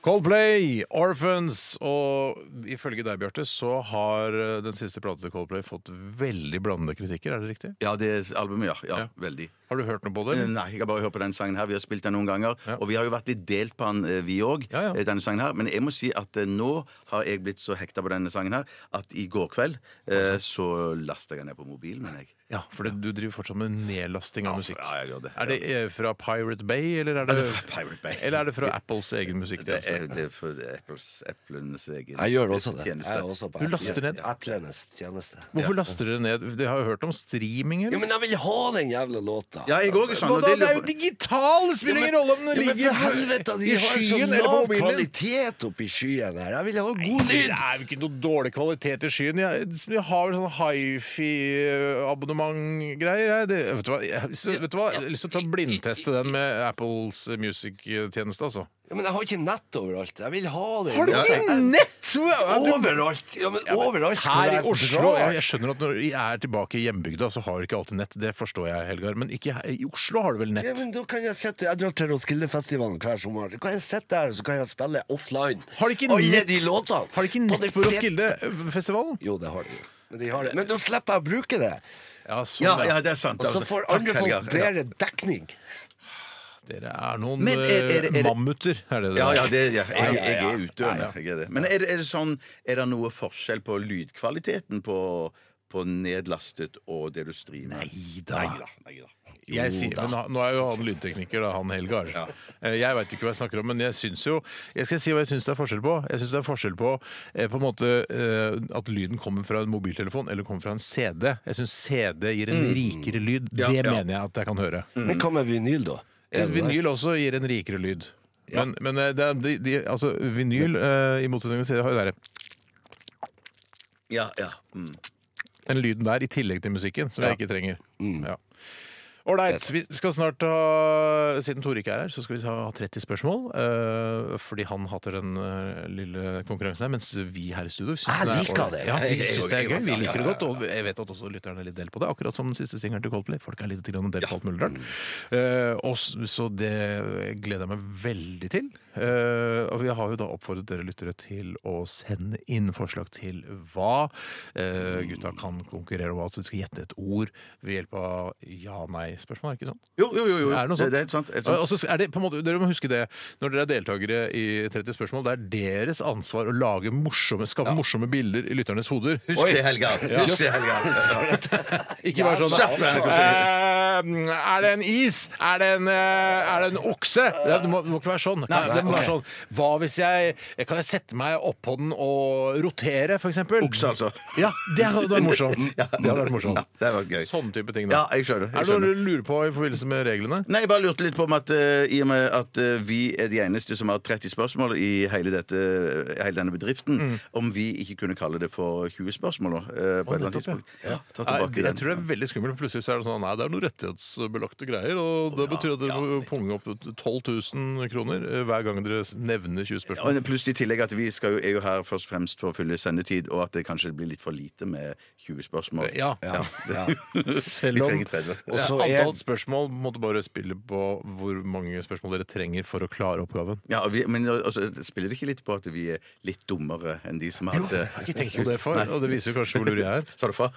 E: Coldplay, Orphans. Og ifølge deg, Bjarte, så har eh, den siste platen til Coldplay fått veldig blandede kritikker. Er det riktig?
F: Ja, det er albumet, ja. ja,
E: Ja.
F: Veldig.
E: Har du hørt noe på det?
F: Eh,
E: eller?
F: Nei, jeg har bare hørt på den sangen her. Vi har spilt den noen ganger.
E: Ja.
F: Og vi har jo vært litt delt på den, eh, vi òg.
E: Ja, ja.
F: eh, Denne sangen her. Men jeg må si at eh, nå har jeg blitt så hekta på denne sangen her at i går kveld eh, så lasta jeg den ned på mobilen min, jeg.
E: Ja, for det, du driver fortsatt med nedlasting av musikk.
F: ja, jeg gjør det.
E: Er det eh, fra Pirate Bay, eller er det,
F: det er fra Pirate Bay.
E: Eller er det fra Apples egen
F: Det er,
E: musikktjeneste?
F: det er for Apples, Applenes egen
G: Jeg gjør også det.
F: tjeneste.
G: Jeg er også på
E: Du laster ned.
G: Applenes tjeneste.
E: Hvorfor laster dere ned? De har jo hørt om streaming,
G: Jo,
E: eller?
G: men jeg vil ha den jævla låta!
F: Ja, jeg òg er sånn.
E: Hva
F: og
E: da?
F: det lurer på-
E: digital! Det spiller ingen rolle om
G: Ja, men for helvete, de har sånn jo så lav kvalitet oppi skyen her. Jeg vil ha god
E: Det
G: lyd!
E: er jo ikke noe dårlig kvalitet i skyen. Jeg, jeg har vel sånn hifi-abonnement-greier. jeg. Det- Vet du hva? Jeg, så, vet du hva? jeg har lyst til å ta blindteste den med Apples music-tjeneste, altså.
G: Ja, men jeg har ikke nett overalt. Jeg vil ha den.
E: Ja,
G: låta.
E: nett?!
G: Overalt! Ja, men overalt hvor
E: Her i
G: jeg
E: Oslo
G: drar.
E: Jeg, jeg skjønner at når jeg er tilbake i hjembygda, så har du ikke alltid nett. Det forstår jeg, Helgar. Men ikke her, i Oslo har du vel
G: Ja,
E: nett?
G: men da kan Jeg sitte Jeg drar til Roskildefestivalen hver sommer. Da kan jeg sitte der og så kan jeg spille offline.
E: Har de ikke
G: Alle
E: nett-
G: de låtene.
E: Har du ikke
G: På
E: nett
G: det
E: på
G: fete-
E: eh, Roskilde-festivalen?
G: Jo, det har de. jo. Men, de har det. Men da slipper jeg å bruke det.
E: Ja, sånn
F: Ja,
E: ja,
F: ja, det er sant.
G: Og så
F: altså.
G: får
F: Takk,
G: andre
F: Helgar.
G: folk bedre dekning.
E: Dere er noen
F: Men er- er det- er det-
E: eh, mammuter, er det det?
F: Ja,
E: er?
F: ja, det, ja. Jeg,
G: ja, ja.
F: jeg er utdøende. Jeg er det. Men er det, er det sånn Er det noe forskjell på lydkvaliteten på, på nedlastet og det du
E: da.
F: streamer? Nei da. Nei da.
E: Jeg sier,
G: da.
E: men han- nå er jo han lydtekniker, da, han Helgar. Eh, Jeg veit ikke hva jeg snakker om, men jeg syns jo Jeg skal si hva jeg syns det er forskjell på. Jeg syns det er forskjell på eh, på en måte eh, at lyden kommer fra en mobiltelefon eller kommer fra en CD. Jeg syns CD gir en rikere lyd. Det
F: ja.
E: mener jeg at jeg kan høre.
G: Men hva med vinyl, da? Er det der?
E: Vinyl også gir en rikere lyd. Men, men eh, det er, de, de, altså, vinyl, eh, i motsetning til CD, har jo det derre
F: Ja, ja. Mm.
E: den lyden der i tillegg til musikken, som
G: Ja. Mm.
E: jeg ikke trenger. Ja. Ålreit. Vi skal snart ha Siden Tore ikke er her, så skal vi ha 30 spørsmål. eh, fordi han hater den eh, lille konkurransen her. Mens vi her i studio syns
G: Jeg
E: den er
G: liker
E: ålreit.
G: Ah, det.
E: Ja, vi
G: Jeg- jeg-
E: syns det er
G: jeg-
E: gøy. Vi
G: ja, ja,
E: liker det
G: ja,
E: godt. Og jeg vet at også lytterne er litt del på det. Akkurat som den siste singelen til Coldplay. Folk er litt grann del på alt mulig rart. Eh, og s- så det gleder jeg meg veldig til. Eh, og vi har jo da oppfordret dere lyttere til å sende inn forslag til hva eh, gutta kan konkurrere om. Altså de skal gjette et ord ved hjelp av ja-nei-spørsmål, er det ikke sånn?
F: Jo, jo, jo. jo.
E: Er det noe sånt?
F: Det, det er helt sant. Helt sant.
E: Og så er det, på en måte, dere må huske det når dere er deltakere i 30 spørsmål. Det er deres ansvar å lage morsomme, skape morsomme bilder i lytternes hoder.
A: Husk det, Helga. Husk det, Helga.
E: Ikke bare sånn eh, Er det en is? Er det en, eh, er det en okse? Det må, det må ikke være sånn. det må være sånn. Hva hvis jeg eh, Kan jeg sette meg oppå den og rotere, f.eks.?
F: Okse, altså.
E: Ja, det hadde vært morsomt. Det hadde vært morsomt.
F: Det hadde vært gøy.
E: Sånne type ting.
F: Ja,
E: Da.
F: jeg skjønner.
E: Er
F: Jeg
E: det noe
F: skjønner.
E: du lurer på i forbindelse med reglene?
F: Nei, jeg bare lurte litt på om at eh, i og med at eh, vi er de eneste som har 30 spørsmål i hele, dette, hele denne bedriften,
E: Mm.
F: om vi ikke kunne kalle det for 20 spørsmål nå, eh, på et eller annet
E: nettopp, ja.
F: tidspunkt. Ja, ta
E: Nei,
F: tilbake
E: jeg
F: den.
E: tror det er veldig skummelt. for Plutselig så er det sånn Nei, det er noen rettighetsbelagte greier. Og det betyr at dere må punge opp 12 000 kroner eh, hver gang dere nevner 20 spørsmål.
F: Og pluss i tillegg at vi skal jo, er jo her først og fremst for å fylle sendetid, og at det kanskje blir litt for lite med 20 spørsmål.
E: Ja.
G: Ja, ja.
E: Selv
F: Vi
E: om
F: trenger 30.
E: Og
G: Ja.
E: så
G: Og så er-
E: Antall spørsmål må du bare spille på hvor mange spørsmål dere trenger for å klare oppgaven.
F: Ja, og vi, men altså, spiller det ikke litt på at vi er litt dummere enn de som hadde
E: Ikke tenk på det far, og det viser jo kanskje hvor lur jeg er.
F: Sa du far?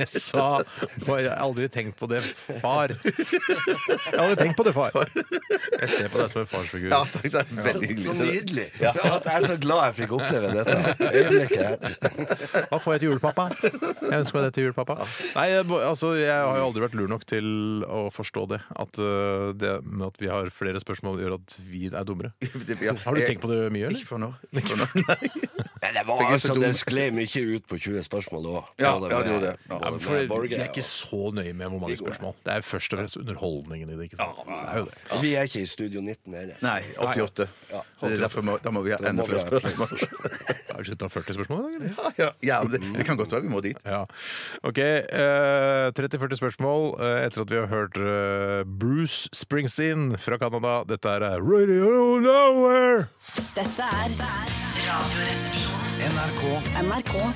E: Jeg sa bare, Jeg har aldri tenkt på det, far. Jeg har aldri tenkt på det, far. Jeg ser på deg som en farsfigur.
F: Ja, takk. Det er veldig
G: Så
F: hyggelig.
G: nydelig! Ja, at jeg er så glad jeg fikk oppleve dette øyeblikket. her.
E: Hva får jeg til julepappa? Jeg ønsker meg det til julepappa. Nei, jeg, bo- altså, jeg har jo aldri vært lur nok til å forstå det. At, øh, det, men at vi har flere spørsmål, gjør at vi er dummere.
F: Ja,
E: Har du
F: jeg-
E: tenkt på det mye, eller?
F: Ikke for nå. Ikke for nå.
G: Men det var
F: Fikk jeg så
G: altså,
F: dum-
G: den sklei mye ut på 20 spørsmål òg.
F: Ja, ja, det gjorde det. Ja.
E: Ja, for Vi er ikke så nøye med hvor mange spørsmål. Det er først og fremst underholdningen i det. ikke sant? Det er jo det.
G: Vi er ikke i Studio 19 heller.
F: Nei, 88. Så det er derfor må, da må vi ha
G: Da
F: enda
G: må
F: flere
G: vi ha flere
F: spørsmål.
E: Har vi sluttet å ha 40 spørsmål i dag, eller?
F: Ja, ja, men det, det kan godt være vi må dit.
E: Ja. OK. eh, 30-40 spørsmål eh, etter at vi har hørt eh, Bruce Springsteen fra Canada. Dette er eh, Radio Nowhere!
H: Dette er Radioresepsjonen.
D: NRK
H: NRK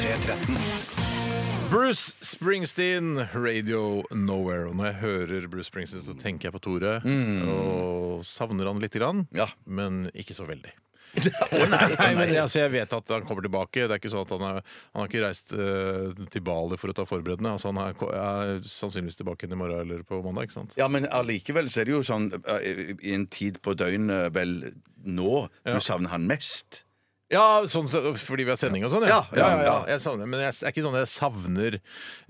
D: P13.
E: Bruce Springsteen, Radio Nowhere. Og når jeg hører Bruce Springsteen, så tenker jeg på Tore. Og savner han lite grann,
F: Mm. Ja.
E: men ikke så veldig. nei, men jeg- altså, jeg vet at han kommer tilbake. Det er ikke sånn at Han er, han har ikke reist eh, til Bali for å ta forberedende. Altså, han er, ko- er sannsynligvis tilbake igjen i morgen eller på mandag. ikke sant?
F: Ja, men allikevel så er det jo sånn eh, i en tid på døgnet eh, vel nå du savner han mest.
E: Ja, sånn, sett, fordi vi har sending og sånn, ja.
F: Ja, ja, ja.
E: Jeg savner, men jeg, det er ikke sånn jeg savner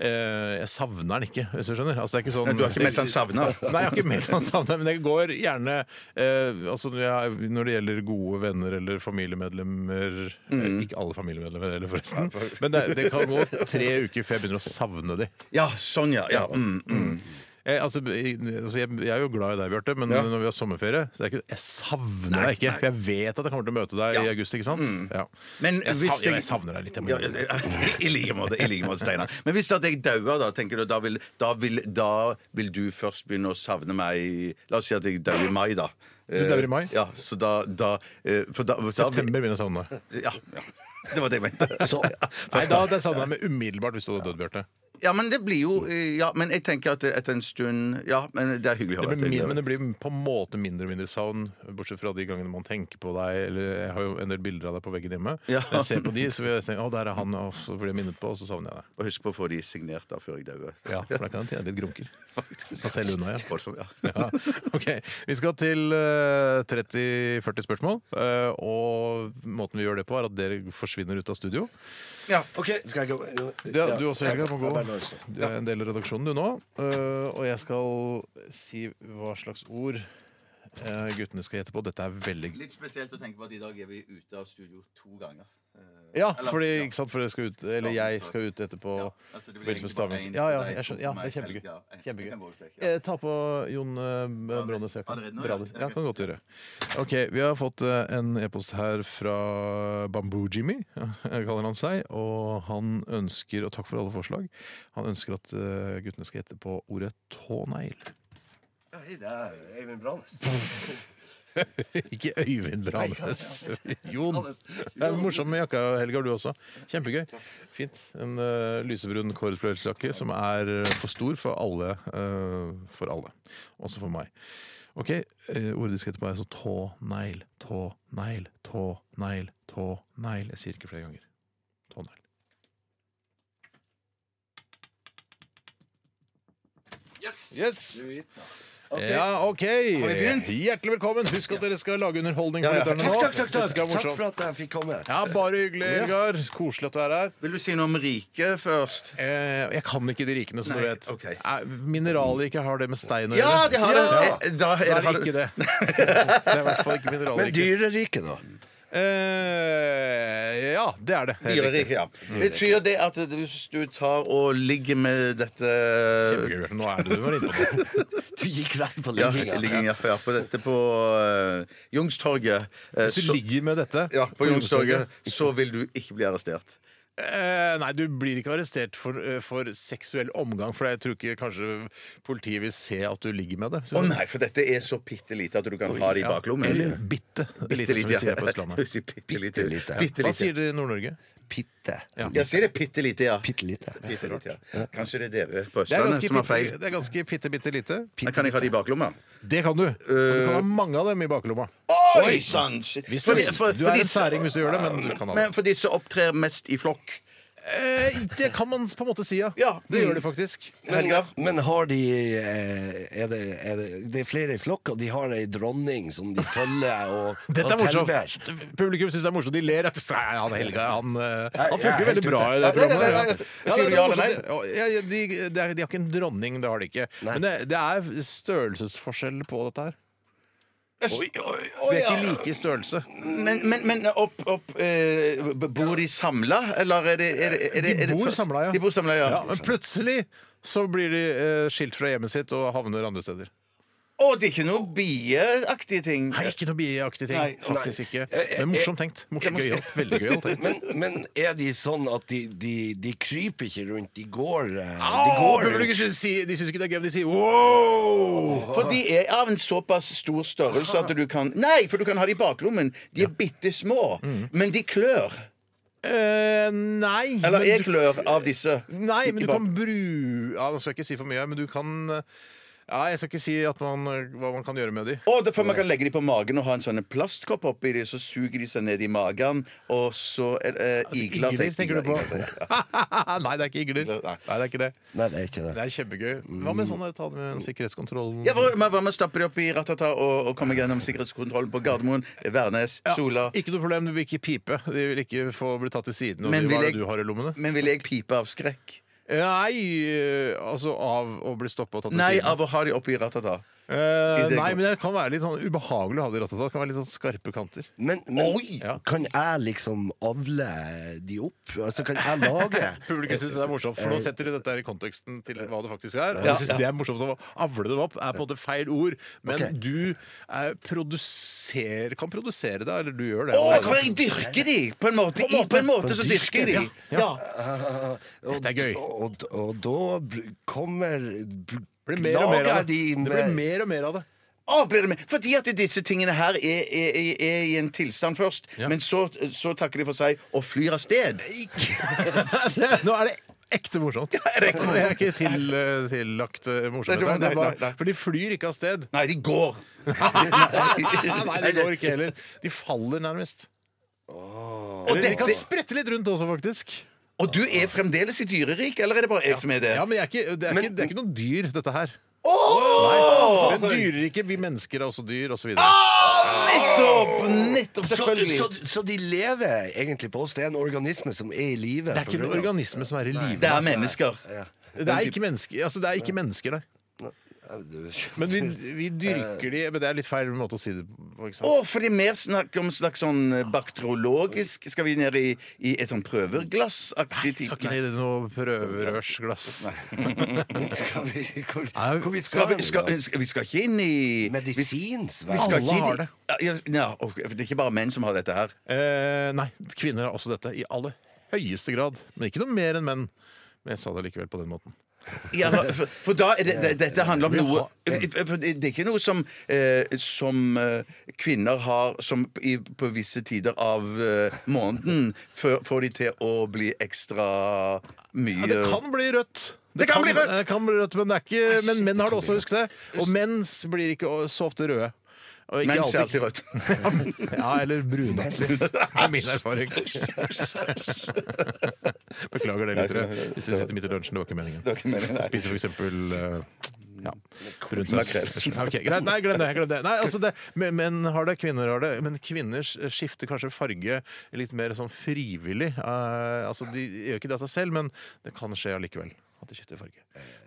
E: eh, Jeg savner han ikke, hvis du skjønner. Altså, det er ikke sånn,
F: Nei, Du har ikke meldt han savna?
E: Nei, jeg har ikke meldt han savner, men jeg går gjerne eh, altså når, jeg, når det gjelder gode venner eller familiemedlemmer eh,
F: Mm.
E: Ikke alle familiemedlemmer heller, forresten. Men det, det kan gå tre uker før jeg begynner å savne de.
F: Ja, sånn, ja. ja. Mm, mm.
E: Jeg, altså, jeg, altså, jeg, jeg er jo glad i deg, Bjarte, men når vi har sommerferie så er jeg, ikke, jeg savner deg ikke. For jeg vet at jeg kommer til å møte deg i august, ikke sant? Ja.
F: Mm. Men
E: jeg,
F: hvis
E: savner,
F: jeg-
E: jeg savner deg litt. Jeg må
F: Ja,
E: gjøre det.
F: I like måte, i like måte, Steinar. Men hvis at jeg dauer, da, tenker du, da vil, da, vil, da vil du først begynne å savne meg La oss si at jeg dauer i mai, da. Eh,
E: Du dauer i mai?
F: Ja, så da, da eh, For da, da
E: September begynner jeg å savne deg.
F: Ja, ja. Det var det jeg mente.
G: Så,
E: Nei, da hadde jeg savna deg med umiddelbart hvis du hadde dødd, Bjarte.
F: Ja, men det blir jo eh, Ja, men jeg tenker at etter en stund Ja, men det er hyggelig å
E: Det
F: høre.
E: blir
F: at jeg
E: min-
F: dauer.
E: Men det blir på en måte mindre og mindre savn, bortsett fra de gangene man tenker på deg. Eller jeg har jo en del bilder av deg på veggen hjemme.
F: Ja.
E: Når jeg ser på de, så vil jeg tenke å, der er han, og så blir jeg minnet på, og så savner jeg deg.
F: Og husk på å få de signert da før jeg dauer.
E: Ja, for da kan jeg tjene litt grunker.
F: Faktisk.
E: Da selger unna, ja.
F: Voldsomt, ja.
E: Ja, ok. Vi skal til eh, 30-40 spørsmål. eh, og måten vi gjør det på, er at dere forsvinner ut av studio.
G: OK, skal jeg gå?
E: Ja, du også, Helga, må
G: Ja,
E: gå.
G: bare la oss stå.
E: Du er en del av redaksjonen, du nå. eh, og jeg skal si hva slags ord eh, guttene skal gjette på. Dette er veldig
F: Litt spesielt å tenke på at i dag er vi ute av studio to ganger. Eh,
E: Ja,
F: eller-
E: fordi
F: ja.
E: ikke sant, for dere skal ut, eller jeg skal ut etterpå.
F: Ja, altså, det
E: i
F: blir
E: forbindelse med
F: egentlig bare
E: stavmiksen.
F: en
E: Ja, ja,
F: til deg,
E: jeg
F: to
E: skjønner, ja,
F: til
E: det er
F: meg,
E: kjempegøy.
F: Helga. Jeg- jeg kan gå ut,
E: kjempegøy.
F: jeg, ja.
E: Eh, Ta på Jon eh, Brånes jakka.
F: Allerede nå, ja.
E: Brader. Ja, kan godt gjøre. Ok, Vi har fått eh, en e-post her fra Bamboo-Jimmy, kaller han seg. Og han ønsker, og takk for alle forslag, han ønsker at eh, guttene skal gjette på ordet tånegl.
G: Ja, hei, det er Eivind Branes.
E: Ikke Øyvind Branes. Jon. Det er morsom med jakka, Helga, du også. Kjempegøy. Fint. En eh, lysebrun kårfløyelsjakke som er eh, for stor for alle. eh, for alle. Også for meg. OK, uh, ordet de skal hete på er så tånegl, tånegl, tånegl, tånegl. Jeg sier ikke flere ganger. Tånegl. Yes! Ja, OK. Hjertelig velkommen. Husk at dere skal lage underholdning for lytterne nå.
G: Takk, takk, takk,
E: Dette
G: takk.
E: skal være
G: takk
E: morsomt.
G: for at jeg fikk komme.
E: Ja, bare hyggelig, Elgar. Koselig at du er her.
F: Vil du si noe om riket først?
E: Eh, jeg kan ikke de rikene, som du
F: Nei,
E: vet.
F: ok.
E: Eh, Mineralrike har det med stein å
F: Ja,
E: gjøre.
F: de har det! Eh, Da er
E: Da er det
F: har du-
E: ikke det. Det er i hvert fall ikke
G: Men
E: mineralrike.
G: dyreriket, da?
E: Eh, ja, det er det. Helt riktig.
F: Dyreriket, ja. Betyr det at hvis du tar og ligger
E: Kjempegøy,
F: med dette
E: Bjarte. Nå er det du var inne på.
G: Du gikk rett på
F: ja,
G: ligginga.
F: ligging ja, ja, på dette på eh, Youngstorget eh,
E: Hvis du
F: så-
E: ligger med dette
F: ja, på Youngstorget,
E: Youngstorget,
F: så vil du ikke bli arrestert.
E: eh, Nei, du blir ikke arrestert for, eh, for seksuell omgang, for jeg tror ikke kanskje politiet vil se at du ligger med det.
F: Å nei, for dette er så bitte lite at du kan ha det i
E: Ja,
F: baklommen.
E: Eller bitte lite, som vi
F: ja.
E: sier på Østlandet.
F: Bitte lite.
G: lite.
E: Hva sier dere i Nord-Norge?
G: Bitte.
E: Ja.
F: Jeg sier det bitte lite, ja.
G: Bitte lite.
F: Bitte lite, ja. Kanskje det er dere på
E: Det er
F: Østlandet
E: ganske,
F: som har feil.
E: bitte, det er ganske bitte, bitte lite.
F: Men kan jeg ha det i baklomma?
E: Det kan du. Og du
F: Eh,
E: kan ha mange av dem i baklomma.
F: Oi sann!
E: Hvis du, du er en særing hvis du gjør det, men du kan ha det.
F: Men for de som opptrer mest i flokk.
E: Eh, det kan man på en måte si, ja.
F: Ja.
E: Det gjør de faktisk.
G: Men,
F: Helga?
G: men har de eh, er det, er det, det er flere i flokk, og de har ei dronning som de følger og
E: Dette er
G: og tilber.
E: morsomt. Publikum syns det er morsomt. De ler. Nei, han Helga, han, eh, han
G: jeg er
E: funker
G: helt
E: veldig bra
G: ute.
E: i det
F: Nei, nei, nei, nei,
E: programmet.
F: nei. Sier du ja eller nei?
E: Ja, ja, de, de, de har ikke en dronning, det har de ikke. Men det, det er størrelsesforskjell på dette her.
G: Oi, oi,
E: Så de er ikke like i størrelse.
F: Men, men, men opp, opp eh, b- Bor de samla, eller er det, er det, er det, er
E: De
F: det
E: bor
F: først-
E: samla, ja.
F: De bor samla, ja.
E: Ja, men plutselig så blir de eh, skilt fra hjemmet sitt og havner andre steder.
F: Å, det er ikke noe bieaktige ting?
E: Nei, ikke noe bieaktig ting.
F: Nei, nei.
E: Faktisk ikke. Men morsomt tenkt. Morsomt gøyalt. Veldig gøyalt tenkt.
G: Men, men er de sånn at de, de, de kryper ikke rundt, de går eh, De
E: Åh,
G: går
E: publikum
G: rundt?
E: synes- si- De syns ikke det er gøy, men de sier wow!
F: For de er av en såpass stor størrelse at du kan Nei, for du kan ha de i baklommen. De er bitte små,
E: Mm.
F: men de klør.
E: Eh, nei.
F: Eller
E: men
F: jeg
E: du-
F: klør av disse.
E: Nei, men
F: I
E: du
F: bak-
E: kan bru... Ja, nå skal jeg ikke si for mye, men du kan eh, ja, Jeg skal ikke si at man, eh, hva man kan gjøre med de.
F: Og derfor man kan legge de på magen og ha en sånn plastkopp oppi de, så suger de seg ned i magen, og så er det eh, igler
E: Altså, igler, tenker du på? Ah, nei, det er ikke igler.
F: Igler,
E: Nei,
F: nei.
E: det er ikke det.
G: Nei, det er ikke
E: Det
G: det.
E: er kjempegøy. Hva med sånn der, ta det med en sikkerhetskontroll?
F: Ja, hva men hva med å stappe de opp i Ratata og, og komme gjennom sikkerhetskontrollen på Gardermoen, Værnes,
E: Ja,
F: Sola?
E: Ikke noe problem, du vil ikke pipe. De vil ikke få bli tatt til siden. Og de,
F: Men
E: hva
F: vil
E: er
F: jeg-
E: det du har i lommene?
F: Men vil jeg pipe av skrekk?
E: Nei, eh, altså av å bli stoppa og tatt til
F: Nei,
E: siden.
F: av å ha de oppi Ratata.
E: Eh,
F: I det
E: nei,
F: går-
E: men det kan være litt sånn ubehagelig å ha det i rattet. Det kan være litt sånn skarpe kanter.
G: Men, men
F: Oi!
E: Ja.
G: kan jeg liksom avle de opp? Altså, kan jeg lage
E: Publikum syns det er morsomt, for nå setter de dette her i konteksten til hva det faktisk er. Og de
F: Ja.
E: synes det er morsomt å avle det opp, er på en måte feil ord, men
G: Ok.
E: du eh, produser, kan produsere det, eller du gjør det.
F: Å,
E: Og-
F: for jeg dyrker de! På en måte, I, på en måte så dyrker jeg de. Ja.
G: og,
E: Dette er gøy.
G: Og, og, og da br- kommer br-
E: det blir mer og mer
G: lager
E: av det.
G: de eh.
E: Det blir
G: med-
E: mer og mer av det.
F: Å, blir det med. Fordi at disse tingene her er, er, er, er i en tilstand først,
E: Ja.
F: men så, så takker de for seg og flyr av sted.
E: Nå er det ekte morsomt. Det er ikke til, eh, tillagt eh, morsomhet.
F: Nei,
E: her. Det er
F: nei,
E: bare-
F: nei.
E: For de flyr ikke av sted.
F: Nei, de går.
E: Nei, det går ikke heller. De faller nærmest. Eller de
F: dette-
E: kan sprette litt rundt også, faktisk.
F: Og du er fremdeles i dyreriket, eller er det bare jeg som er det?
E: Ja, men jeg er ikke, det, er ikke, det er ikke noe dyr, dette her. Nei, men dyreriket Vi mennesker er også dyr, osv.
F: Nettopp! Nettopp,
G: Så,
F: selvfølgelig.
G: så, så de lever egentlig på oss? Det er en organisme som er i live?
E: Det er ikke en
G: på grunn av-
E: organisme som er i live.
F: Det er mennesker.
G: Ja.
E: Det er ikke mennesker, altså, det er ikke mennesker der.
G: Ja, du-
E: Men vi, vi dyrker de Men det er litt feil måte å si det på. ikke
F: Å,
E: sant?
F: for det er mer snakk om slags sånn eh, bakteriologisk Skal vi ned i, i et sånn prøverglassaktig
E: Skal ikke
F: type?
E: det i noe prøverørsglass?
G: Skal vi, hvor,
E: Nei,
G: hvor vi
F: Skal
G: skal,
F: vi, skal, eh, skal, vi skal ikke inn i
G: Medisins
F: vi
E: Alle
F: skal ikke inn i-
E: har det.
F: Ja, ja, ok, for det er ikke bare menn som har dette her.
E: Eh, nei, kvinner har også dette i aller høyeste grad. Men ikke noe mer enn menn. Men jeg sa det likevel på den måten.
F: Ja, for, for da er det, det, dette handler om
E: Vi
F: noe
E: har-
F: for Det det er ikke noe som, eh, som eh, kvinner har som i, på visse tider av eh, måneden før, får de til å bli ekstra mye
E: Ja, det kan bli rødt.
F: Det kan bli rødt!
E: Det kan bli rødt, men, det er ikke, men menn har det også, husk det. Og mens blir ikke så ofte røde. Og ikke
F: Mens er alltid rødt.
E: ja, eller brunaktig. Det er min erfaring. Beklager det, lyttere. Hvis dere sitter midt i lunsjen, det var ikke meningen. Spiser for eksempel eh, ja. Brun saus. Ja, ok, greit. Nei, glem det. Glem det. Nei, altså det men- menn har det, kvinner har det. Men kvinner skifter kanskje farge litt mer sånn frivillig. Eh, altså, de gjør ikke det av seg selv, men det kan skje allikevel. At de skifter farge.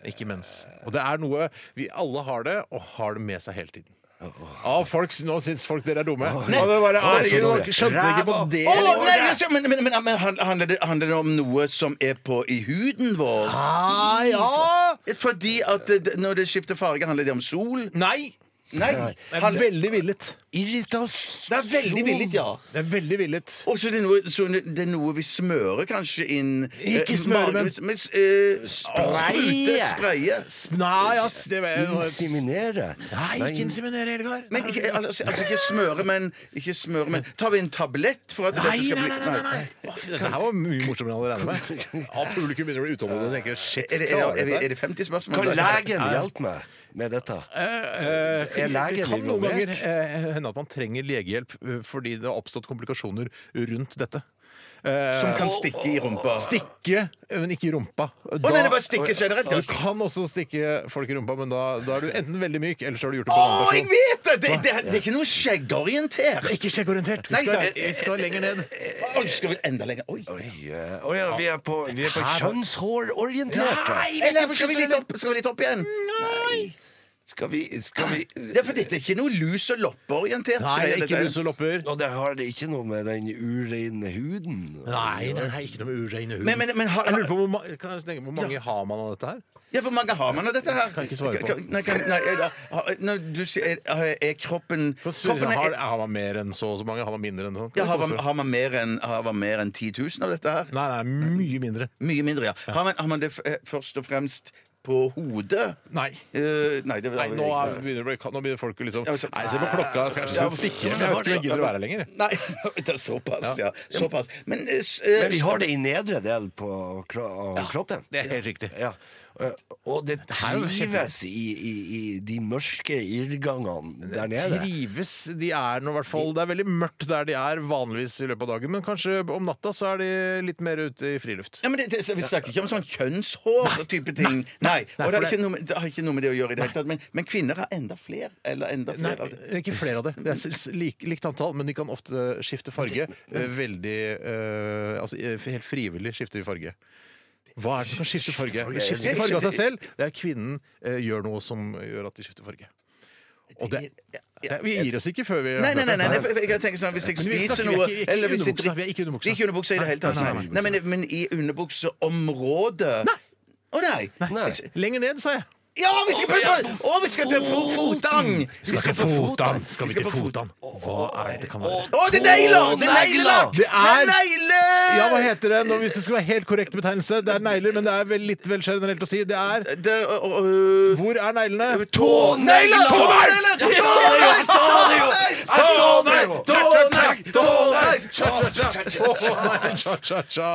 E: Ikke mens. Og det er noe vi alle har det, og har det med seg hele tiden. Ah, folk, nå syns folk dere er dumme. Og det bare, ah, herregud, dere skjønte ikke på det.
F: Å, nei, altså, men men, men, men han- handler, det, handler det om noe som er på i huden vår?
E: Ah, ja!
F: Fordi at det, det- når det skifter farge, handler det om sol?
E: Nei!
F: Nei.
E: Det er veldig villet.
F: Det er veldig villet, ja.
E: Det er veldig villet.
F: Og så er det noe, så det er noe vi smører kanskje inn eh,
E: Ikke smøre, men-
F: vanligvis, men eh, Sprute, spraye.
E: Sp- Nei, ass, det var
G: Inseminere?
E: Nei, ikke inseminere, Helgar.
F: Men ikke, altså, altså ikke smøre, men ikke smøre, men Tar vi en tablett for at
E: Nei,
F: dette
E: nei,
F: skal
E: nei,
F: bli
E: nei, nei, Å, fy, Dette her var mye morsommere enn jeg hadde regnet med. Ja, publikum begynner å bli utålmodig og tenker shit,
F: Er det, er, det- er, det- er det 50 spørsmål?
G: Kan legen hjelpe meg med dette? Er legen
E: det Eh, kan noen
G: involvert?
E: ganger eh, hende at man trenger legehjelp eh, fordi det har oppstått komplikasjoner rundt dette. Eh,
F: Som kan stikke i rumpa?
E: Stikke, men ikke i rumpa. Da,
F: Å nei, det bare stikker generelt.
E: du kan også stikke folk i rumpa, men da, da er du enten veldig myk, eller så har du gjort det på en
F: Å, jeg
E: annen person.
F: vet det! Det, det, det er ikke noe skjeggorientert.
E: Ikke skjeggorientert.
F: Nei,
E: Vi skal,
F: da-
E: vi skal lenger ned.
F: Oi, skal vi enda lenger? Oi.
G: Å ja, vi er på, vi er på kjønnshårorienterte.
F: Eller skal vi litt opp, skal vi litt opp igjen?
G: Skal vi, skal vi
F: Det er for dette er ikke noe lus- og loppeorientert.
E: Nei,
F: greie,
E: ikke
F: dette.
E: lus og lopper.
G: Og det har det ikke noe med den ureine huden
E: Nei, det er ikke noe med ureine huden.
F: Men- men- men har-
E: jeg lurer på hvor, ma- kan jeg tenke, hvor mange har man av dette her?
F: Ja, Hvor mange har man av dette her?
E: Kan ikke svare på.
F: Kan- Nei, kan, nei, er, har- når du sier er, er kroppen,
E: Kan spørre,
F: kroppen
E: har,
F: er,
E: har man mer enn så og så mange? Har man mindre enn sånn? Kan
F: ja, har,
E: jeg
F: man,
E: spørre?
F: har man mer enn har man mer enn 10 000 av dette her?
E: Nei, nei, mye mindre.
F: Mye mindre, ja. Har man, har man det f- eh, først og fremst på hodet?
E: Nei.
F: Eh, nei, det
E: Nei, nå, er, begynner,
F: ikke.
E: det å bli- nå begynner folk å liksom
F: Ja, så-
E: Nei, se på klokka, skal jeg skal
F: Ja,
E: stikke? sånn Jeg vet ikke om jeg gidder å være her lenger. jeg.
F: Nei, det er såpass, ja. Såpass. Men, eh, s-
G: Men vi har det i nedre del på kro av kroppen.
E: Det er helt riktig.
G: Ja. Eh, Og det
E: er jo kjempebra.
G: trives i, i, i de mørke irrgangene der nede.
E: Trives de er nå, i hvert fall. Det er veldig mørkt der de er vanligvis i løpet av dagen, men kanskje om natta så er de litt mer ute i friluft.
F: ja, men det, det, så vi snakker ikke om sånn kjønnshår-type ting. Nei, og det
E: for
F: har,
E: det-
F: ikke noe, med- det har ikke noe med det å gjøre i det hele tatt. Men, men kvinner har enda flere. Eller enda
E: Nei,
F: flere av det.
E: ikke flere av det. Det er s- s- lik, likt antall, men de kan ofte skifte farge. eh, Veldig eh, Altså eh, helt frivillig skifter de farge. Hva er det som kan skifte farge? De skifter ikke farge av seg selv. Det er kvinnen eh, gjør noe som gjør at de skifter farge. Og det, det, vi gir oss ikke før vi
F: Nei, nei, nei, nei, nei. for Jeg kan tenke sånn, Hvis jeg
E: Men vi
F: spiser
E: snakker- vi er
F: noe
E: ikke- ikke
F: eller hvis jeg
E: underbuksa,
F: drikker-
E: vi er ikke underbuksa.
F: Vi er ikke underbuksa i det hele tatt.
E: Nei, nei,
F: Nei,
E: nei.
F: men, men i underbukseområdet Å nei!
E: Lenger ned, sa jeg.
F: Ja, vi skal på Å, vi skal til Fotang! Vi skal på Fotang.
E: Skal vi til fotan? Hva er det det kan være?
F: Å, det er negler! Det er negler!
E: Det er-
F: Det negler!
E: Ja, hva heter det? Nå, hvis det skal være helt korrekt betegnelse, det er negler, men det er vel litt vel generelt å si. Det er
F: Det er, øh, øh,
E: Hvor er neglene?
F: Tånegler! Tånegler! Tånegler! Tånegler! Tånegler! Tånegler!
E: Tja, tja, tja.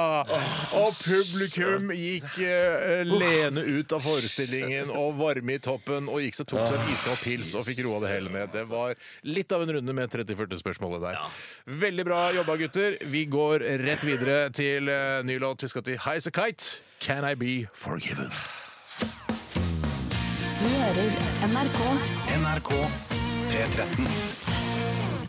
E: Og publikum gikk eh, lene ut av forestillingen og varme i toppen og gikk seg tok seg en iskald pils og fikk roa det hele ned. Det var litt av en runde med 30-40 spørsmålet der. Veldig bra jobba, gutter. Vi går rett videre til eh, ny låt. Vi skal til Highas a Kite. Can I be forgiven?
H: Du hører NRK.
D: NRK P13.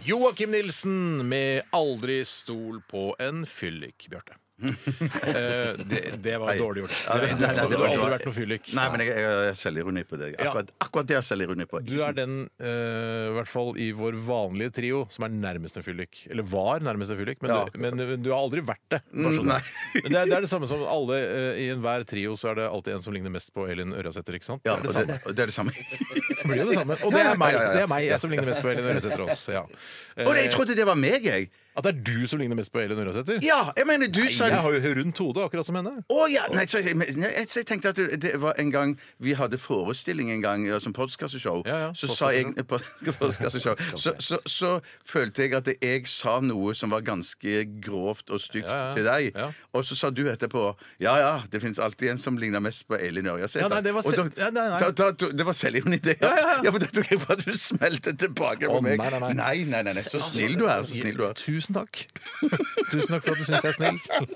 E: Joakim Nilsen med 'Aldri stol på en fyllik', Bjarte. Eh, det, det var dårlig gjort.
F: Nei, nei, nei,
E: det
F: det
E: hadde
F: var-
E: aldri vært noe fyllik.
F: Nei, men jeg, jeg, jeg har selvironi på det.
E: Ja.
F: Akkurat, akkurat det har jeg selvironi på.
E: Du er den, eh, i hvert fall i vår vanlige trio, som er nærmest en fyllik. Eller var nærmest en fyllik, men,
F: Ja.
E: du, men du har aldri vært det. bare
F: Mm,
E: sånn.
F: nei.
E: Men det, er, det er det samme som alle eh, i enhver trio, så er det alltid en som ligner mest på Elin Ørjasæter, ikke sant?
F: Ja,
E: det er det
F: og
E: samme.
F: det, og det er det samme.
E: Det blir jo det samme. Og det er meg.
F: Ja, ja, ja.
E: Det er meg jeg som ligner mest på Elin Ørjasæter også. Ja.
F: Å, jeg
E: Eh,
F: trodde det var meg, jeg!
E: At det er du som ligner mest på Elin Ørjasæter?
F: Ja, jeg mener du sa
E: Jeg har jo rundt hode, akkurat som henne.
F: Å ja! Nei, så, jeg, men- nei, jeg, så jeg tenkte at det det var en gang vi hadde forestilling en gang ja, som podkasseshow.
E: Ja, ja,
F: så sa jeg podcasseshow, så, så, så følte jeg at jeg sa noe som var ganske grovt og stygt
E: Ja, ja,
F: til deg.
E: ja.
F: Og så sa du etterpå Ja ja, det finnes alltid en som ligner mest på Elin Ørjasæter.
E: Ja, nei, det var
F: Og
E: se- ja, nei, nei.
F: Da, da, da, det var selvironi, det.
E: Ja, ja, ja.
F: for da tok jeg på at du smeltet tilbake på
E: Å,
F: meg.
E: nei, nei, Altså, nei.
F: nei, nei, nei, nei. Så snill du er. Så snill du er.
E: Tusen takk. Tusen takk for at du syns jeg er snill.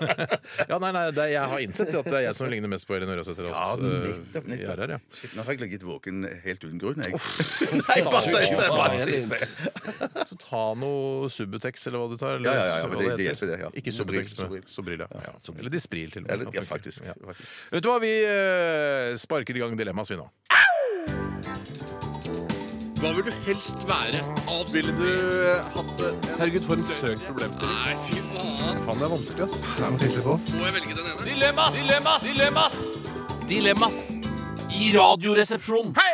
E: ja, nei, nei, det, er- Jeg har innsett at det er jeg som ligner mest på Elin Ørjasæter.
F: Ja,
E: også, eh,
F: nettopp,
E: i
F: nettopp.
E: RR, ja.
F: Shit, Nå har jeg ligget våken helt uten grunn, jeg. Nei, bare tøys, jeg bare sier det.
E: Så ta noe Subutex eller hva du tar. Eller,
F: Ja, ja,
E: hva
F: ja, men det- det
E: heter.
F: hjelper det, ja.
E: Ikke Subutex,
F: Sobril,
E: men Sobril. Ja. Ja. Eller Dispril, til og med.
F: Eller, ja,
E: funker.
F: faktisk.
E: Ja.
F: faktisk.
E: Vet du hva, vi eh, sparker i gang Dilemmas, vi nå.
I: Hva vil du helst være? Ville du hatt det? Herregud, for en søk problemstilling. Nei, fy faen. Faen, det er vanskelig, ass. Må jeg velge den ene? Dilemmas! Dilemmas! Dilemmas! Dilemmas! I radioresepsjonen. Hei!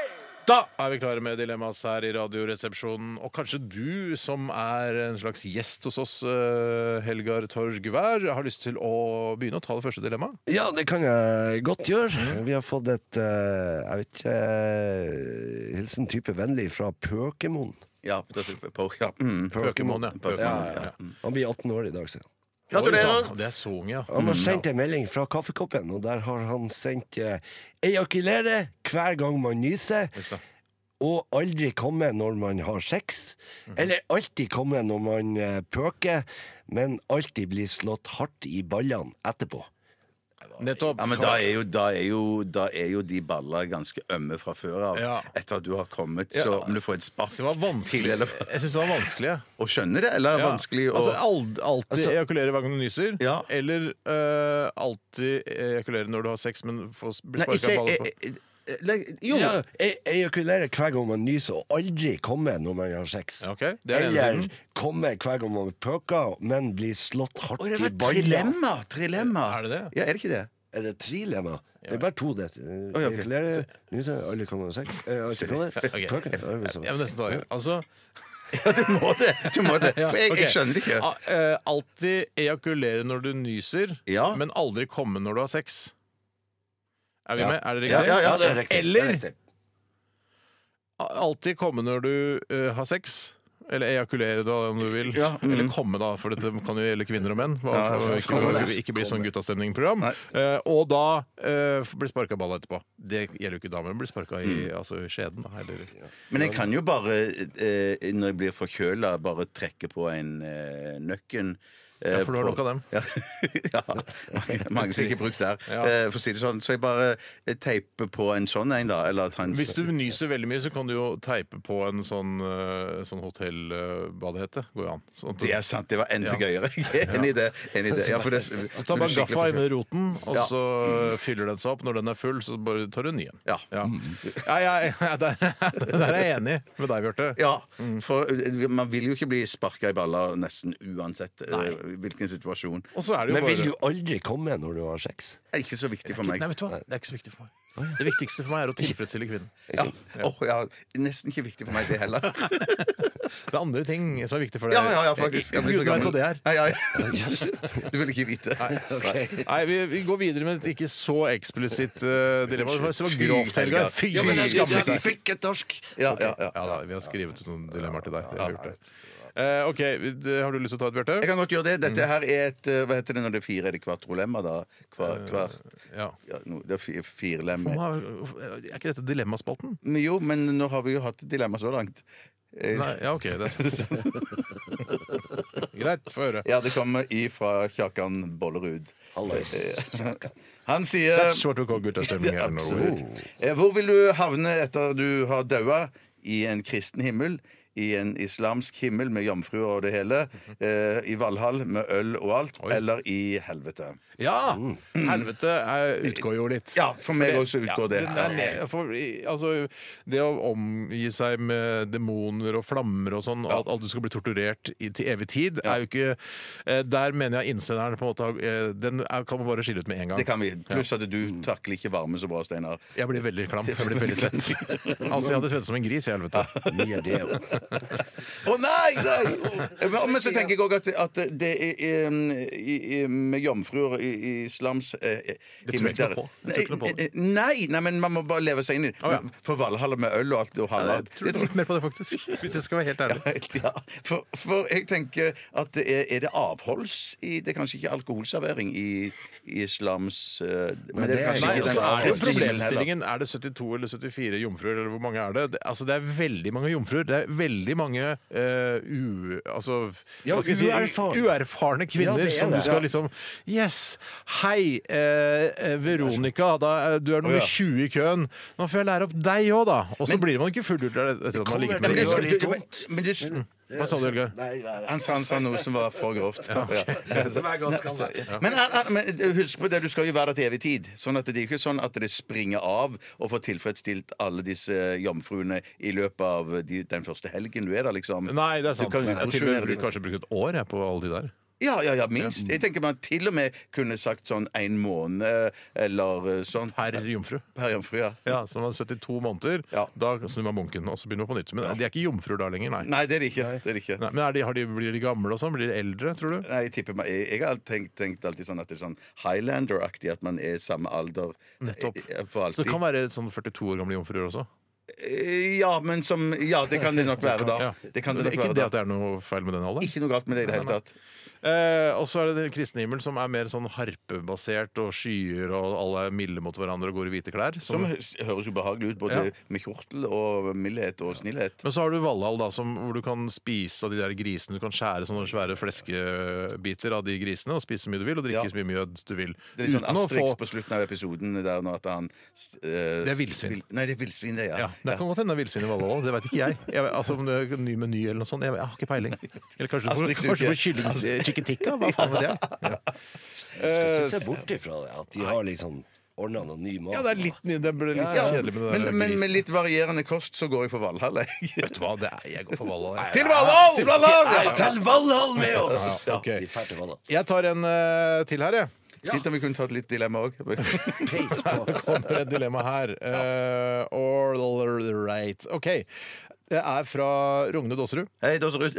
E: Da er vi klare med Dilemmas her i Radioresepsjonen. Og kanskje du som er en slags gjest hos oss, eh, Helgar Torg Guvær, har lyst til å begynne å ta det første dilemmaet?
G: Ja, det kan jeg godt gjøre.
E: Mm.
G: Vi har fått et eh, Jeg vet ikke eh, Hilsen type vennlig fra Pøkemon.
F: Ja, det er på, ja. Mm.
E: Pøkemon, ja.
F: Pokemon,
G: Ja,
E: Pokemon,
G: ja.
E: ja.
G: Han blir 18 år i dag, sier han.
E: Oi,
F: Gratulerer!
E: sann, Det er så ung, Mm, ja.
G: Han har sendt en melding fra kaffekoppen, og der har han sendt eh, Ejakulere hver gang man nyser. Og aldri komme når man har sex.
E: Mhm.
G: Eller alltid komme når man eh, pøker, men alltid bli slått hardt i ballene etterpå.
E: Nettopp.
F: Ja, men da er, jo, da, er jo, da er jo de baller ganske ømme fra før av.
E: Ja.
F: Etter at du har kommet,
E: Ja.
F: så om du får et spark
E: Det var vanskelig.
F: til eller fra
E: Jeg syns det var vanskelig. ja.
F: Å skjønne det, eller
E: Ja.
F: vanskelig å
E: Altså ald- alltid
F: Altså-
E: ejakulere hver gang du nyser,
F: Ja.
E: eller eh, alltid ejakulere når du har sex, men få s- bli
F: Nei,
E: sparka
F: ikke
E: av baller på.
F: eh, eh, eh, legg- Jo!
G: Ja, e- ejakulere hver gang man nyser, og aldri komme når man har sex.
E: Ja, ok. Det er den ene
G: Eller
E: siden.
G: komme hver gang man pøker, men bli slått hardt
F: Å, det
G: i
F: var
G: ballene.
F: trilemma! Trilemma!
E: Er det det?
F: Ja, er det ikke det?
G: Er det trilemma? Det er bare to, det.
F: Oi, ok.
G: Ejakulere, nyse, aldri komme når sex. Eh, Alltid komme,
E: Ok.
G: pøker. aldri komme.
E: Jeg må nesten ta det. Altså
F: Du må det! Du må det. For jeg,
E: ok.
F: jeg skjønner det ikke.
E: A- eh, alltid ejakulere når du nyser,
F: Ja.
E: men aldri komme når du har sex. Er vi
G: Ja.
E: med? Er det riktig?
F: Ja, ja, ja,
G: det er riktig.
E: Eller
G: Det er riktig.
E: a- alltid komme når du eh, har sex. Eller ejakulere, da, om du vil.
F: Ja, mm.
E: Eller komme, da, for dette kan jo gjelde kvinner og menn. Bare
F: Ja,
E: for å ikke,
G: komme.
E: for å ikke bli sånn guttastemning-program. Eh, og da eh, bli sparka i balla etterpå. Det gjelder jo ikke damer. men Bli sparka i,
F: Mm.
E: altså, i skjeden, da. Eller.
F: Men jeg kan jo bare, eh, når jeg blir forkjøla, bare trekke på en eh, nøkken. eh,
E: Ja, for du har
F: på-
E: nok av dem.
F: Ja, ja. Mange- mange som ikke er brukt der.
E: Ja.
F: Eh, for å si det sånn. Så jeg bare eh, teiper på en sånn en, da. Eller at han
E: Hvis du nyser veldig mye, så kan du jo teipe på en sånn, eh, sånn hotellbadehette. Går jo an. Sånn at du-
F: Det er sant, det var
E: Ja.
F: enda gøyere. Jeg er Enig i det. Enig i det. Ja, for det
E: Du tar bare gaffa i med roten, og
F: Ja.
E: så fyller den seg opp. Når den er full, så bare tar du en ny en.
F: Ja. Mm.
E: Ja. Ja, ja, ja, der, der er jeg enig med deg, Bjarte.
F: Ja,
E: Mm.
F: for eh, man vil jo ikke bli sparka i baller nesten uansett eh, hvilken situasjon.
E: Og så er det jo
G: Men
E: bare
G: vil du aldri komme når du har sex?
F: Det er ikke så viktig for
E: Nei,
F: meg.
E: vet du hva? Det er ikke så viktig for meg. Det viktigste for meg er å tilfredsstille kvinnen.
F: Ja. Åh, ja. Nesten ikke viktig for meg, det heller.
E: Det er andre ting som er viktig for deg.
F: Ja, ja, ja, faktisk. Jeg blir
E: Gud
F: så
E: vet
F: gammel.
E: hva det er.
F: Nei, ja. Du vil ikke vite.
E: Nei, vi, vi går videre med et ikke så eksplisitt eh, dilemma. Det var- Det var
F: Fy,
E: grovt, Helgar.
F: Helgar.
E: Fy!
F: Ja, men jeg skal-
E: skamme seg.
G: Fikk et torsk!
F: Ja, ja, ja.
E: Ja da, vi har skrevet ut noen dilemmaer til deg. Vi har gjort det. Eh, OK, det- har du lyst til å ta et, Bjarte?
F: Jeg kan godt gjøre det. Dette her er et eh, Hva heter det når det er fire? Er det kvartrolemma, da? Hver, hvert
E: Ja.
F: ja, no, Det er fi- firelem.
E: Nå har- Er ikke dette dilemmaspalten?
F: Men jo, men nå har vi jo hatt et dilemma så langt. Eh,
E: Nei, ja, OK. Det er sant. Greit, få høre.
F: Ja, det kommer ifra Kjakan Bollerud. Eh,
G: Hallais.
F: Han sier
E: That's what we call guttastemning
F: Det
E: here
F: er
E: in Norway.
F: Absolutt. Eh, Hvor vil du havne etter du har daua? I en kristen himmel? i en islamsk himmel med jomfruer og det hele. Eh, I Valhall med øl og alt. Eller i helvete.
E: Ja! Helvete er, utgår jo litt.
F: Ja, for meg også utgår det.
E: Ja, den er ned- for, i- altså, det å omgi seg med demoner og flammer og sånn, og at, at du skal bli torturert i, til evig tid, er jo ikke eh, Der mener jeg innsenderen på en måte har- eh, Den er, kan man bare skille ut med en gang.
F: Det kan vi. Pluss at du takler ikke varme så bra, Steinar.
E: Jeg blir veldig klam. Jeg blir veldig svett. altså, jeg hadde svett som en gris i helvete.
G: Mye det, jo.
F: Å nei! nei! Men, men så tenker jeg òg at, at det er um, i, i, med jomfruer i, i slams eh,
E: Det tror jeg ikke noe på.
F: Nei, eh,
E: Jeg tror ikke noe på det.
F: nei, nei, men man må bare leve seg inn i det.
E: Å, ja.
F: For Valhall med øl og alt og
E: Jeg
F: halvard
E: tror litt mer på det, faktisk. Hvis jeg skal være helt ærlig.
F: ja, for, for jeg tenker at det er, er det avholds i Det er kanskje ikke alkoholservering i, i islams eh, Men det er kanskje
E: Nei, og så er det
F: ikke den
E: jo
F: avholdsstilen heller.
E: problemstillingen Er det 72 eller 74 jomfruer, eller hvor mange er det? det altså, det er veldig mange jomfruer. Det er veldig mange eh, u... Altså
G: Ja,
E: hva skal jeg si,
G: uerfaren.
E: uerfarne kvinner
G: Ja, det er
E: som du
G: det.
E: skal
G: Ja.
E: liksom Yes! Hei, eh, eh, Veronica, da, er- du er nummer
F: Å, ja.
E: 20 i køen. Nå får jeg lære opp deg òg, da! Og så blir man ikke fullt ut etter at man ligger
G: kommer
E: med dem.
G: til å gjøre
F: Men
G: litt
F: du-
G: vondt.
F: men du-
E: Hva sa du, Jørgen?
G: Nei, nei, nei.
F: Han sa, han sa noe som var for grovt. Ja.
G: Som er ganske annerledes.
F: Men, han- han- men eh, husk på det, du skal jo være der til evig tid. Sånn at det er ikke sånn at det springer av og får tilfredsstilt alle disse eh, jomfruene i løpet av eh, de, den første helgen du er der, liksom.
E: Nei, det er sant.
F: Du kan
E: Jeg har til og med
F: utrosjonere det.
E: kanskje brukt et år jeg, på alle de der.
F: Ja, ja, ja, minst. Jeg tenker man til og med kunne sagt sånn en måned eller eh, sånn
E: Per jomfru.
F: per jomfru, ja.
E: Ja, Så man er 72 måneder,
F: Ja.
E: da snur man bunken og så begynner man på nytt. Men de er ikke jomfruer da lenger, nei.
F: Nei, det er det ikke. Det er det ikke.
E: Nei, men er de, har de, Blir de gamle og sånn? Blir de eldre, tror du?
F: Nei, jeg, tipper, meg- jeg, jeg har tenkt, tenkt alltid sånn at det er sånn Highlander-aktig, at man er samme alder
E: Nettopp.
F: eh, for
E: Så
F: alltid.
E: det kan være sånn 42 år gamle jomfruer også?
F: Eh, Ja, men som Ja, det kan det nok være da.
E: Ja.
F: Det kan det
E: Men
F: nok
E: ikke
F: være
E: det
F: da.
E: at det er noe feil med den alderen?
F: Ikke noe galt med det i det hele
E: Nei, nei.
F: tatt.
E: Eh, og så er det den kristne himmel, som er mer sånn harpebasert, og skyer, og alle er milde mot hverandre og går i hvite klær.
F: Som
E: Som,
F: hø- høres ubehagelig ut, både
E: Ja.
F: med kjortel og mildhet og snillhet.
E: men så har du Valhall, da, som, hvor du kan spise av de der grisene. Du kan skjære sånne svære fleskebiter av de grisene og spise så mye du vil, og drikke
F: Ja.
E: så mye mjød du vil.
F: Det er litt sånn
E: Uten å
F: Asterix
E: få-
F: på slutten av episoden der når at han eh,
E: Det er villsvin.
F: vil- Nei, det er villsvin, det,
E: Ja,
F: ja.
E: Det
F: ja.
E: kan godt hende det er villsvin i Valhall. Det veit ikke jeg. jeg vet, altså, om det er ny meny eller noe sånt. Jeg, vet- jeg har ikke peiling. Eller kanskje du får,
F: Asterix
E: kanskje du får
F: uke.
E: kylling eh, chicken tikka? Hva faen vet jeg? Ja. Eh,
G: Ikke se bort ifra det, at de har liksom ordna noe ny mat.
E: Ja, det er litt, ny- det ble litt
F: Ja,
E: kjedelig med det
F: men,
E: der
F: men med
E: grisen.
F: litt varierende kost så går jeg for Valhall, jeg.
E: Vet du hva, det er jeg går for Valhall. jeg. Til Valhall! Til Valhall! Ja, ja.
G: Til Valhall med oss!
E: Ja, ok.
G: De drar til Valhall.
E: Jeg tar en eh, til her, jeg.
F: Fint om vi kunne tatt litt dilemma òg.
G: Peis på.
E: Kommer et dilemma her. Eh, all right. OK. Det er fra Rogne Dåserud.
F: Hei, Dåserud.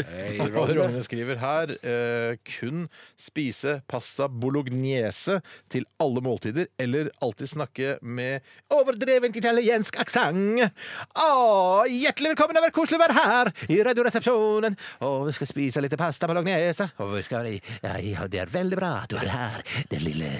E: Og Rogne skriver her eh, kun spise pasta bolognese til alle måltider, eller alltid snakke med overdrevent italiensk aksent. Hjertelig velkommen, det har vært koselig å være her i Radioresepsjonen. Og vi skal spise litt pasta bolognese, og vi skal ja, ja, Det er veldig bra at du er her, den lille,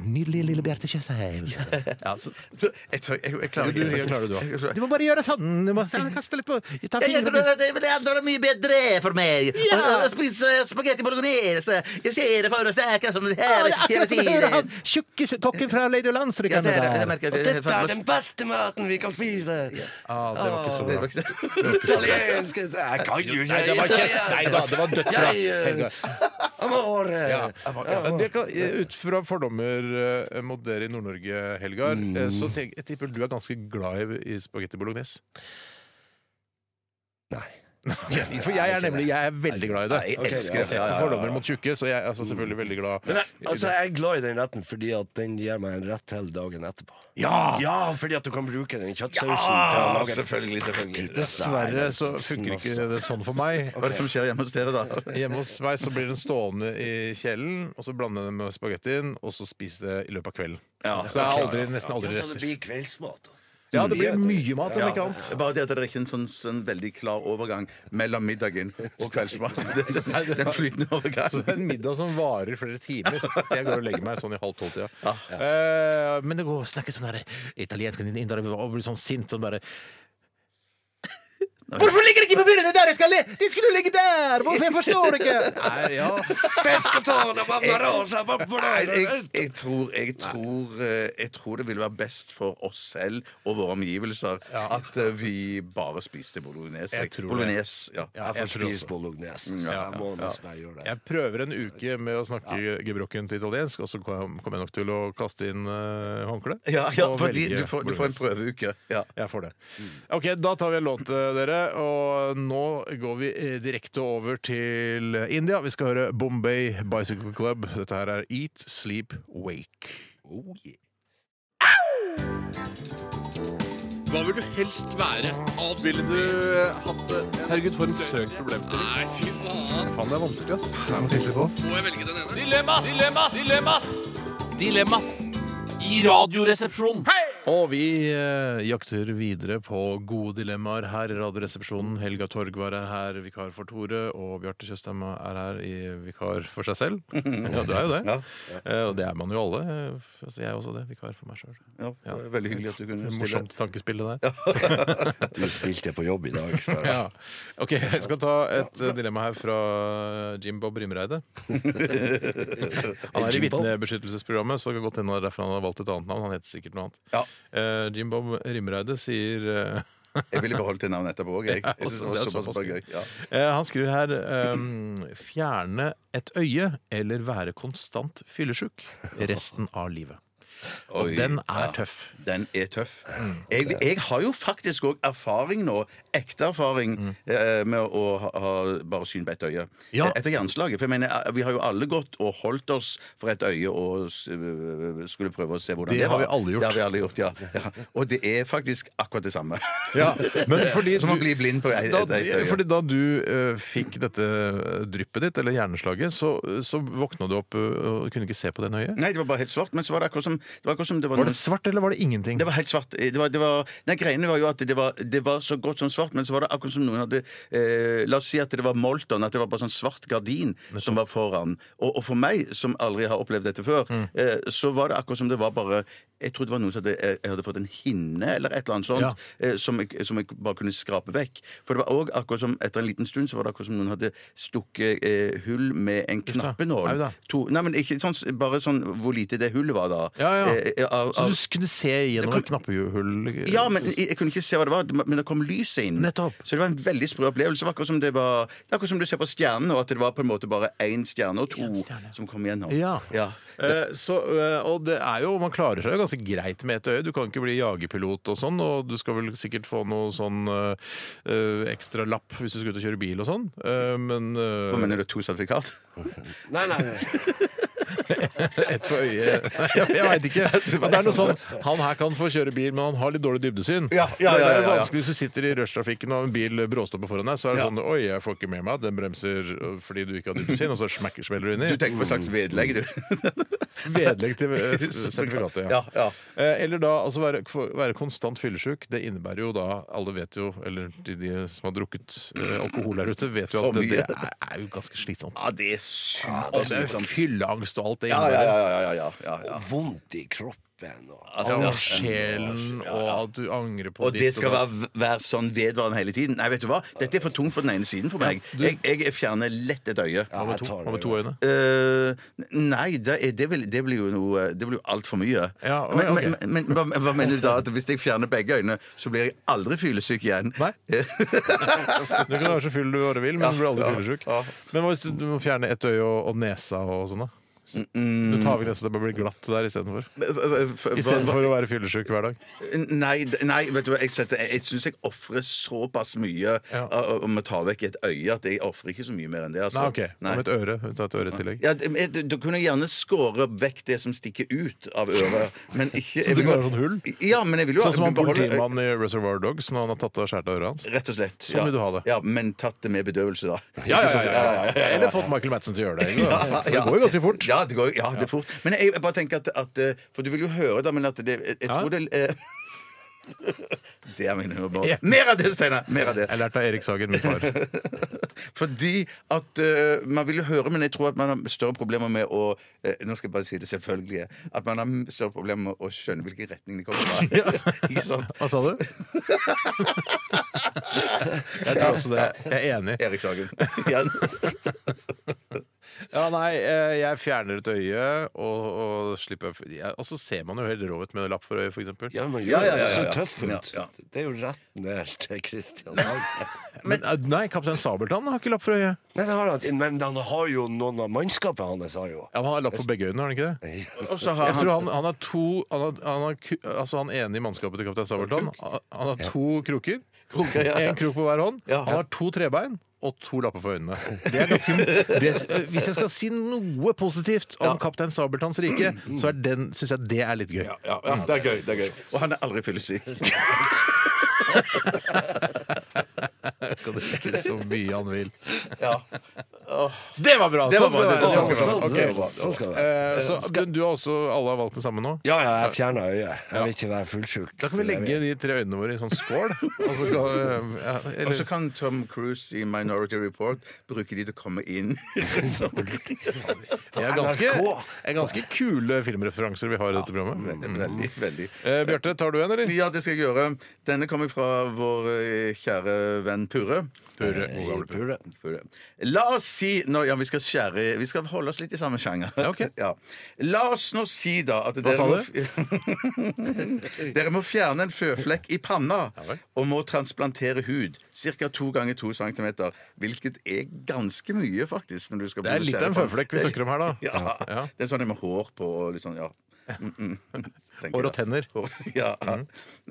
E: nydelige lille Bjarte Tjøstheim. Ja, så-
F: Så, jeg, tør- jeg, jeg klarer
E: du, du, jeg klarer det, du
F: Jeg-
E: også.
F: jeg-
E: Du må bare gjøre sånn. Du må kaste litt på ta
A: Jeg
E: fingrene-
A: tror at det, det andre var mye bedre for meg.
E: Ja.
A: Å- Å spise spagetti bolognese. Jeg ser det for å snakke som det
E: Ja,
A: her
E: det er
A: hele
E: akkurat som å høre han
A: tiden.
E: tjukke kokken fra Lady
A: Ja,
E: Landstrykerne
A: det er det. Jeg
E: der.
A: merker at det er
G: Dette er
A: helt
G: den beste maten vi kan spise!
E: Ah, det var ikke så bra.
A: fantastisk.
G: Italiensk Jeg kan jo ikke
E: det var kjeft. Nei da, det var dødsbra.
G: Jeg, eh,
E: Helga.
G: Amore!
E: Ja, men det kan, eh, ut fra fordommer eh, mot dere i Nord-Norge, Helgar,
A: Mm.
E: eh, så tenk, jeg tipper du er ganske glad i, i spagetti bolognese.
G: Nei.
E: Ok, For jeg er nemlig jeg er veldig glad i det.
G: Ok,
F: elsker det.
E: Jeg har Fordommer mot tjukke, så jeg er altså selvfølgelig veldig glad.
G: Men jeg, altså, jeg er glad i den retten fordi at den gir meg en rett til dagen etterpå.
E: Ja!
G: Ja, fordi at du kan bruke den kjøttsausen til å
F: Ja,
G: lage
F: selvfølgelig, selvfølgelig.
E: Dessverre så funker ikke det liksom sånn for meg.
F: Hva er det som skjer hjemme hos dere, da?
E: Hjemme hos meg så blir den stående i kjelen, og så blande den med spagettien, og så spise det i løpet av kvelden. så det er aldri, nesten aldri
G: Ja, så det
E: rester.
G: blir kveldsmat. da.
E: Ja, det blir mye mat, om ikke
F: Ja.
E: annet.
F: Bare det at det er ikke en sånn, sånn veldig klar overgang mellom middagen og kveldsmaten. Det- det- det er en flytende
E: Så det er
F: overgang.
E: en middag som varer flere timer. Så jeg går og legger meg sånn i halv tolv-tida. Eh, men det går å snakke sånn her italiensk og blir sånn sint sånn bare
A: Hvorfor ligger det ikke på byrene der jeg skal le? De skulle ligge der! Hvorfor? Jeg forstår ikke.
E: Er, ja.
F: Jeg, jeg, jeg, tror, jeg, tror, eh, jeg tror det ville være best for oss selv og våre omgivelser at eh, vi bare spiste bolognese.
E: Jeg tror det.
F: Bolognese, ja.
E: Ja,
G: Jeg får
E: tror
G: spise
F: Mm,
G: bolognese, så jeg må nesten bare gjøre det.
E: Jeg prøver en uke med å snakke gebrokkent italiensk, og så kom kom jeg nok til å kaste inn uh, håndkle.
F: Ja, ja,
E: og
F: fordi
E: velge
F: du får, du får en Mm.
E: bolognese.
F: prøveuke. Ja.
E: Jeg får det. Ok, Da tar vi en låt, eh, dere. Og nå går vi eh, direkte over til India. Vi skal høre Bombay Bicycle Club. Dette her er Eat, Sleep, Wake.
G: Oh,
I: Hva vil du helst være? Alt ville du hatt det? Herregud, for en søkt problemstilling. Nei, fy faen. Faen, det er vanskelig, ass. Det er noe tydelig på oss. Må jeg velge den ene? Dilemmas! Dilemmas! Dilemmas! Dilemmas! I radioresepsjonen.
E: Og vi eh, jakter videre på gode dilemmaer her i Radioresepsjonen. Helga Torgvar er her, vikar for Tore, og Bjarte Tjøstheim er her i vikar for seg selv. Ja, du er jo det. Eh, Og det er man jo alle. Eh, altså, Jeg er også det. Vikar for meg sjøl.
F: Ja, det var Veldig hyggelig at du kunne stille.
E: Morsomt tankespill, det der.
G: Du stilte på jobb i dag. For...
E: Ja. Ok, jeg skal ta et eh, dilemma her fra Jim Bob Rimreide. Han er i
G: Jim Bob?
E: vitnebeskyttelsesprogrammet, så det kan godt hende det er derfor han har valgt et annet navn. Han heter sikkert noe annet.
F: Ja.
E: Eh, Jim Bob Rimreide sier eh,
F: Jeg ville beholdt det navnet etterpå òg. Jeg. Jeg synes det var
E: Det er
F: såpass
E: såpass
F: bare gøy. Ja.
E: eh, Han skriver her ehm, Fjerne et øye eller være konstant fyllesjuk resten av livet. Og
F: Oi.
E: den er
F: Ja.
E: tøff.
F: Den er tøff.
E: Mm,
F: Jeg, jeg har jo faktisk òg erfaring nå, ekte erfaring, eh, med å ha, ha bare syn på ett øye.
E: Mm. Ja.
F: Eh, Etter jernslaget. For jeg mener, eh, vi har jo alle gått og holdt oss for et øye og s- øh, skulle prøve å se hvordan
E: Det
F: det,
E: har
F: var.
E: vi alle gjort.
F: Det har vi alle gjort, ja. ja. Og det er faktisk akkurat det samme.
E: Men fordi
F: Som å
E: du-
F: bli blind på ett
E: da,
F: ett øye.
E: fordi da du eh, fikk dette dryppet ditt, eller hjerneslaget, så, så våkna du opp eh, og kunne ikke se på det nøyet?
F: Nei, det var bare helt svart, men så var det akkurat som det var, akkurat som det var
E: Var det
F: noen-
E: svart, eller var det ingenting?
F: Det var helt svart. Det var, det var, nei, greiene var jo at det var, det var så godt som svart, men så var det akkurat som noen hadde eh, La oss si at det var Molton, at det var bare sånn svart gardin som var foran. Og, og for meg, som aldri har opplevd dette før,
E: Mm.
F: eh, så var det akkurat som det var bare Jeg trodde det var noen som hadde, eh, jeg, jeg hadde fått en hinne eller et eller annet sånt
E: Ja.
F: eh, som, jeg, som jeg bare kunne skrape vekk. For det var òg akkurat som etter en liten stund så var det akkurat som noen hadde stukket eh, hull med en
E: da. Au
F: knappenål.
E: da.
F: To- Nei, men ikke sånn, bare sånn hvor lite det hullet var da.
E: Ja, ja.
F: Eh, av,
E: så
F: av,
E: du s- kunne se gjennom
F: Det
E: et knappehull? eh,
F: ja, men jeg, jeg kunne ikke se hva det var, det- men det kom lyset inn.
E: Nettopp.
F: Så det var en veldig sprø opplevelse. Det var Akkurat som det var det er akkurat som du ser på stjernene, og at det var på en måte bare én stjerne og to
E: stjerne.
F: som kom igjennom.
E: Ja. Eh, så, eh, og det er jo, man klarer seg jo ganske greit med ett øye. Du kan ikke bli jagerpilot og sånn, og du skal vel sikkert få noe sånn eh, eh, ekstra lapp hvis du skal ut og kjøre bil og sånn, Eh, men eh,
F: Hva mener du, to sertifikat?
G: Nei, nei, nei.
E: Ett for øye Nei, jeg, jeg veit ikke. Men Det er noe sånn, Han her kan få kjøre bil, men han har litt dårlig dybdesyn.
F: Ja, ja,
E: Men
F: ja,
E: det er
F: ja, ja.
E: vanskelig Hvis du sitter i rushtrafikken og en bil bråstopper foran deg, så er det
F: Ja.
E: sånn Oi, jeg får ikke med meg. Den bremser øh, fordi du ikke har dybdesyn, og så smekker smeller du
F: Du
E: inni.
F: tenker på et slags vedlegg, du.
E: Vedlegg til øh, sertifikatet.
F: Ja, ja.
E: Eh, Eller da altså være, for- være konstant fyllesyk. Det innebærer jo da Alle vet jo, eller de, de som har drukket eh, alkohol der ute, vet jo
F: Så
E: at det, det
F: mye.
E: er, er jo ganske slitsomt.
F: Ja, det er sykt.
E: Altså, Det er Fylleangst og alt det
F: Ja,
E: innebærer.
F: ja, ja, ja, ja, ja, ja, ja.
G: Vondt i kroppen og
E: Ja, og sjelen, og at du angrer på
F: Og det
E: ditt
F: skal
E: datt.
F: være, være sånn vedvarende hele tiden. Nei, vet du hva? Dette er for tungt på den ene siden for meg. Jeg, jeg fjerner lett et øye.
G: Ja, jeg
E: to,
G: tar
E: hva med
G: det.
E: to øyne?
F: Eh, nei, det, er, det, vil, det blir jo noe Det blir jo altfor mye.
E: Ja, ok,
F: men
E: ok.
F: men, men hva, hva mener du da? At hvis jeg fjerner begge øynene, så blir jeg aldri fyllesyk igjen?
E: Nei. Du kan være så full du bare vil, men du blir aldri fyllesyk. Men hva hvis du, du må fjerne ett øye og, og nesa og sånn, da?
F: Mm,
E: Du tar vekk nesa, det bare blir glatt der istedenfor.
F: Istedenfor
E: Istedenfor å være fyllesyk hver dag.
F: Nei, d- nei, vet du hva, jeg, setter- jeg, jeg syns jeg ofrer såpass mye
E: Ja.
F: av- om å ta vekk et øye at jeg ofrer ikke så mye mer enn det. Altså.
E: Nei, OK. Hva med et øre? Ta et øre i tillegg.
F: Ja, d- men du, du kunne gjerne skåre vekk det som stikker ut av øret, men ikke jeg
E: Så det
F: vil jo-
E: kan være sånn hull?
F: Ja, men jeg vil jo
E: Sånn som han
F: beholde-
E: politimannen i Reservoir Dogs når han har tatt av skjært av øret hans.
F: Rett og slett.
E: Sånn vil du ha det.
F: Ja, men tatt det med bedøvelse, da.
E: Ja, ja, ja, ja, ja. Eller fått Michael Madsen til å gjøre det. ikke sant?
F: Ja,
E: For
F: ja.
E: Det går jo ganske fort.
F: Ja, det går, ja, det er fort. Men jeg, jeg bare tenker at, at eh, For du vil jo høre, da, men at det Jeg, jeg
E: Ja.
F: tror det eh, Det er min humor. Mer av det, Steinar! Mer av det.
E: Jeg lærte av Erik Sagen, min far.
F: Fordi at eh, Man vil jo høre, men jeg tror at man har større problemer med å eh, Nå skal jeg bare si det selvfølgelige. At man har større problemer med å skjønne hvilken retning de kommer fra. Ikke sant?
E: Hva sa du? Jeg tror også det. Jeg er enig.
F: Erik Sagen. Igjen.
E: Ja, nei, eh, jeg fjerner et øye, og, og slipper jeg- Og så ser man jo helt rå ut med lapp for øyet, for eksempel.
G: Ja, man
F: Ja,
G: gjør
F: ja, ja,
G: det
F: ja,
G: så
F: ja.
G: tøff ut.
F: Ja,
G: Det er jo rett ned til Christian Hagen.
E: Men, eh, nei, Kaptein Sabeltann har ikke lapp for øyet.
G: Nei, det har han ikke. Men han har jo noen av mannskapet hans, har jo.
E: Ja, Han har lapp for begge øynene, har han ikke det?
F: Og så har
E: Jeg tror
F: han
E: han, han har to han, har, han, har, ku- altså han ene i mannskapet til Kaptein Sabeltann han- Han har to kroker. Én krok på hver hånd. Han har to trebein. Og to lapper for øynene. Det er ganske, det, eh, hvis jeg skal si noe positivt om Kaptein Sabeltanns rike, så er den, syns jeg det er litt gøy.
F: ja, ja, det er gøy. det er gøy Og han er aldri fyllesyk.
E: Skal det ikke så mye han vil.
F: Ja.
E: Det var bra!
F: Det
E: sånn
F: var
E: skal
F: bra,
E: det
F: det
E: være.
F: var
E: Sånn skal det
F: bra.
E: være.
G: Sånn,
E: Ok.
G: sånn, sånn skal det være.
E: Eh, Så, men du har også alle har valgt den samme nå?
G: Ja, ja, jeg fjerna øyet. Jeg vil ikke være fullsjuk.
E: Da kan vi legge de tre øynene våre i sånn skål. Og så kan, eh, ja,
F: Og så
E: eller,
F: kan Tom Cruise i Minority Report bruke de til å komme inn.
E: det er ganske,
G: NRK.
E: det er ganske kule filmreferanser vi har i dette programmet. Mm.
F: veldig, veldig
E: Eh, Bjarte, tar du en, eller?
F: Ja, det skal jeg gjøre. Denne kommer fra vår eh, kjære venn Purre. Purre,
G: Purre.
F: La oss si nå, ja, vi, skal skjære, i- vi skal holde oss litt i samme sjanger.
E: ok.
F: Ja. La oss nå si da at dere,
E: sa
F: må, f- dere må fjerne en føflekk i panna
E: vel.
F: og må transplantere hud. Ca. to ganger to centimeter. Hvilket er ganske mye, faktisk. Når du skal
E: Det er litt av en føflekk vi snakker om her, da.
F: Ja.
E: Ja.
F: Det er sånn med hår på og litt sånn, ja. Mm, mm, tenker
E: Hår og
F: jeg.
E: tenner.
F: Ja.
E: Mhm.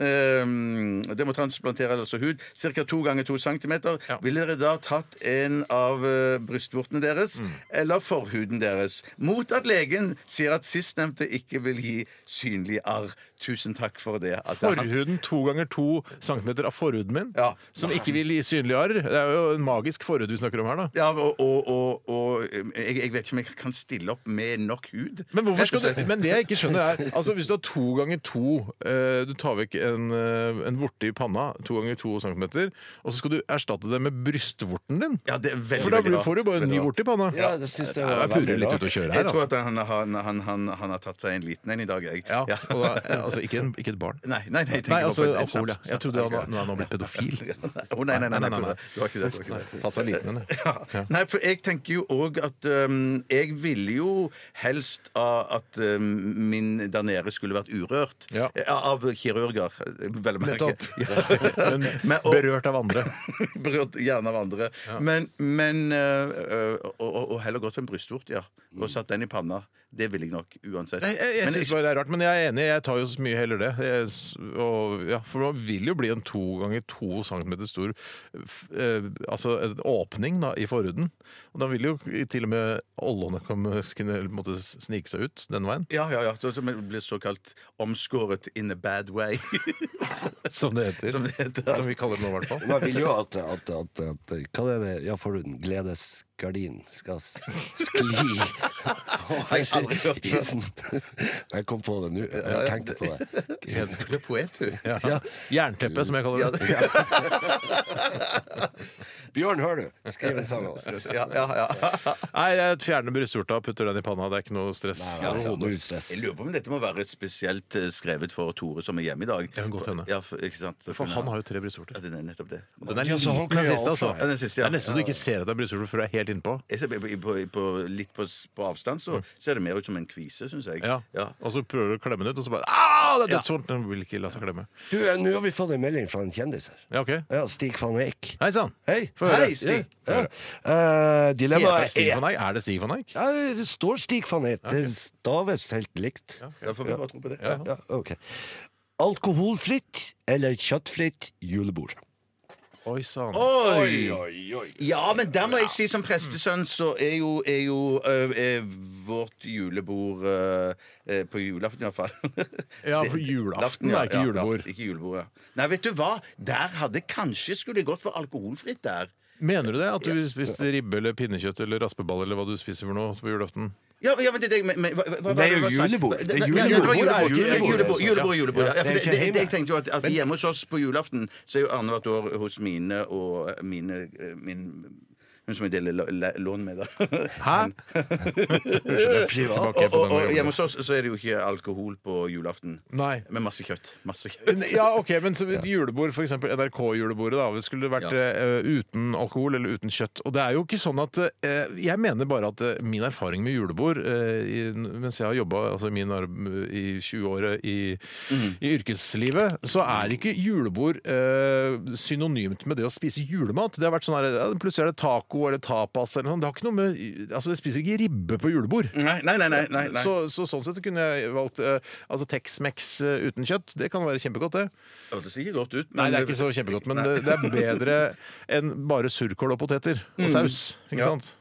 F: Ehm, det må transplantere altså hud. Ca. to ganger to centimeter.
E: Ja.
F: Ville dere da tatt en av eh, brystvortene deres
E: Mm.
F: eller forhuden deres? Mot at legen sier at sistnevnte ikke vil gi synlig arr. Tusen takk for det. At det er han-
E: Forhuden to ganger to centimeter av forhuden min,
F: Ja.
E: som ikke vil gi synlige arr. Det er jo en magisk forhud vi snakker om her, da.
F: ja, og, og, og, og eh, jeg, jeg vet ikke om jeg kan stille opp med nok hud.
E: Men, hvorfor
F: Rett og
E: skal du,
F: slett.
E: men det jeg ikke skjønner er altså Hvis du har to ganger to eh, Du tar vekk en, eh, en vorte i panna To ganger to centimeter Og så skal du erstatte det med brystvorten din
F: Ja, det er veldig,
E: For da
F: veldig
E: blir,
F: rart.
E: får du bare en
F: Veldig
E: ny
F: rart.
E: vorte i panna
G: Ja, det syns jeg var
E: Jeg purrer
G: veldig
E: litt ut
G: rart.
E: og kjører
F: Jeg
E: her
F: tror
E: altså.
F: at han, han, han, han, han har tatt seg en liten en i dag, jeg.
E: ja,
F: Ja.
E: og da, altså, ikke, en, ikke et barn
F: Nei, nei, nei, jeg tenker
E: Nei,
F: bare på
E: altså
F: et- et
E: alkohol ja.
F: saps-
E: Jeg trodde
F: saps-
E: han, nå er han blitt pedofil
F: Å, nei, nei, nei,
E: Nei, nei,
F: nei,
E: nei, nei.
F: Du har ikke det. Du har ikke det.
E: Tatt seg liten den, ja.
F: Ja. Nei, for jeg tenker jo òg at um, Jeg ville jo helst av at um, min der nede skulle vært urørt.
E: Ja.
F: Eh, Av kirurger, vel å merke.
E: Nettopp.
F: Ja.
E: Men
F: Men- og-
E: berørt av andre
F: Berørt gjerne av andre. Men, men øh, øh, og, og, og heller gått for en brystvort, ja. Og satt den i panna. Det ville jeg nok uansett.
E: Mm. Nei, jeg, jeg
F: Men
E: synes bare det er rart, men jeg er enig. Jeg tar jo så mye heller det. Jeg, s- og, ja, for man vil jo bli en to ganger to centimeter stor f- eh, altså en åpning da, i forhuden. Og da vil jo til og med ollene komme- kunne på en måte snike seg ut den veien,
F: ja, ja, ja. Sånn som jeg blir såkalt omskåret in a bad way.
E: som det heter.
F: Som
E: Som,
F: det heter.
E: vi kaller det nå, i hvert fall.
G: Man vil jo at, at, at, at Hva er det Ja, forhuden. Gledesgardin skal s- skli
F: aldri hørt
G: over
F: det.
G: isen. Jeg kom på det nå. Jeg tenkte på det.
F: Du er poet, du.
E: Ja. Jernteppe, som jeg kaller det.
G: Bjørn, hører du? Skriv en sang av oss.
F: Ja, ja, ja.
E: Nei, jeg fjerner brystvorta, putter den i panna. Det er ikke noe stress.
G: Null stress.
F: Jeg lurer på om dette må være spesielt eh, skrevet for Tore som er hjemme i dag.
E: Det kan godt hende.
F: Ja, for, ikke sant?
E: For han har jo tre
F: Ja,
E: brystvorter.
F: det er nettopp det.
E: Den er
G: Ja, så han
E: liten,
G: kan
E: den
G: jo
E: siste, altså.
F: Ja,
G: avsløre.
F: den siste,
E: Det
F: ja.
E: er nesten så du ikke ser at det er brystvorter før du er helt innpå.
F: Jeg ser, på, på, på, litt på, s- på avstand så ser det mer ut som en kvise, syns jeg.
E: Mm. Ja.
F: Ja.
E: Og så prøver du å klemme den ut, og så bare Au! Det er dødsvondt! Den vil ikke la seg klemme.
G: Du, eh, nå har vi fått en melding fra en kjendis her.
E: Ja, ok.
G: Ja, Stig van Eyck.
E: Hei sann.
G: Hei.
E: Få høre.
F: Hei, Stig.
G: Ja. Eh,
E: Heter det
G: dilemmaet
E: Stig
G: er
E: van Eyck? Er det Stig van Eyck?
G: ja, Det står Stig van Eyck. Det staves helt likt.
F: Da får vi bare tro på det. Ja.
G: Ja, ok. Alkoholfritt eller kjøttfritt julebord?
E: Oi sann.
F: Oi! Ja, men der må jeg si som prestesønn, så er jo, er jo ø, er vårt julebord ø, ø, På julaften, i hvert fall.
E: Ja,
F: Det-
E: på julaften
F: Laften,
E: det
F: ja,
E: er ikke
F: ja,
E: julebord.
F: Ja, ikke julebord, ja. Nei, vet du hva? Der hadde kanskje skulle jeg gått for alkoholfritt der.
E: Mener du det? At du spiste ribbe eller pinnekjøtt eller raspeball eller hva du spiser for noe på julaften?
F: Ja, men- ja, men det, det, men, men, hva, hva, hva,
G: Det er jo
F: hva- hva-
G: julebord. Det er
F: Ja, ja, det var
G: julebord.
F: julebord.
G: Julebord,
F: Julebord, julebord, julebord. Ja,
G: Ja, det er
F: for
G: jo
F: det,
G: ikke
F: det,
G: hjemme.
F: jeg tenkte jo at, at hjemme hos oss på julaften så er jo annethvert år hos mine og mine eh, min, Hun som jeg deler la- la- lån med, da.
E: Hæ?
F: Og,
E: Tilbake på den
F: og, og hjemme
E: jobben.
F: hos oss så er det jo ikke alkohol på julaften.
E: Nei.
F: Med masse kjøtt. Masse kjøtt.
E: Men- Ja, ok, men så et julebord, f.eks. NRK-julebordet, da, det skulle vært eh, uten alkohol eller uten kjøtt. Og det er jo ikke sånn at eh, Jeg mener bare at eh, min erfaring med julebord eh, i, Mens jeg har jobba altså min arb- i 20-året i,
F: Mhm.
E: i yrkeslivet, så er ikke julebord eh, synonymt med det å spise julemat. Det har vært sånn her, ja, Plutselig er det taco eller tapas eller noe sånt. Det har ikke noe med Altså, jeg spiser ikke ribbe på julebord.
F: Nei, nei, nei. nei, nei, nei.
E: Så, så sånn sett kunne jeg valgt eh, altså Tex-Mex eh, uten kjøtt. Det kan være kjempegodt, det.
F: Å, Det ser ikke godt ut.
E: Nei,
F: men-
E: det er ikke så kjempegodt, men det, det er bedre enn bare surkål og poteter og saus. Ikke
F: Ja.
E: sant?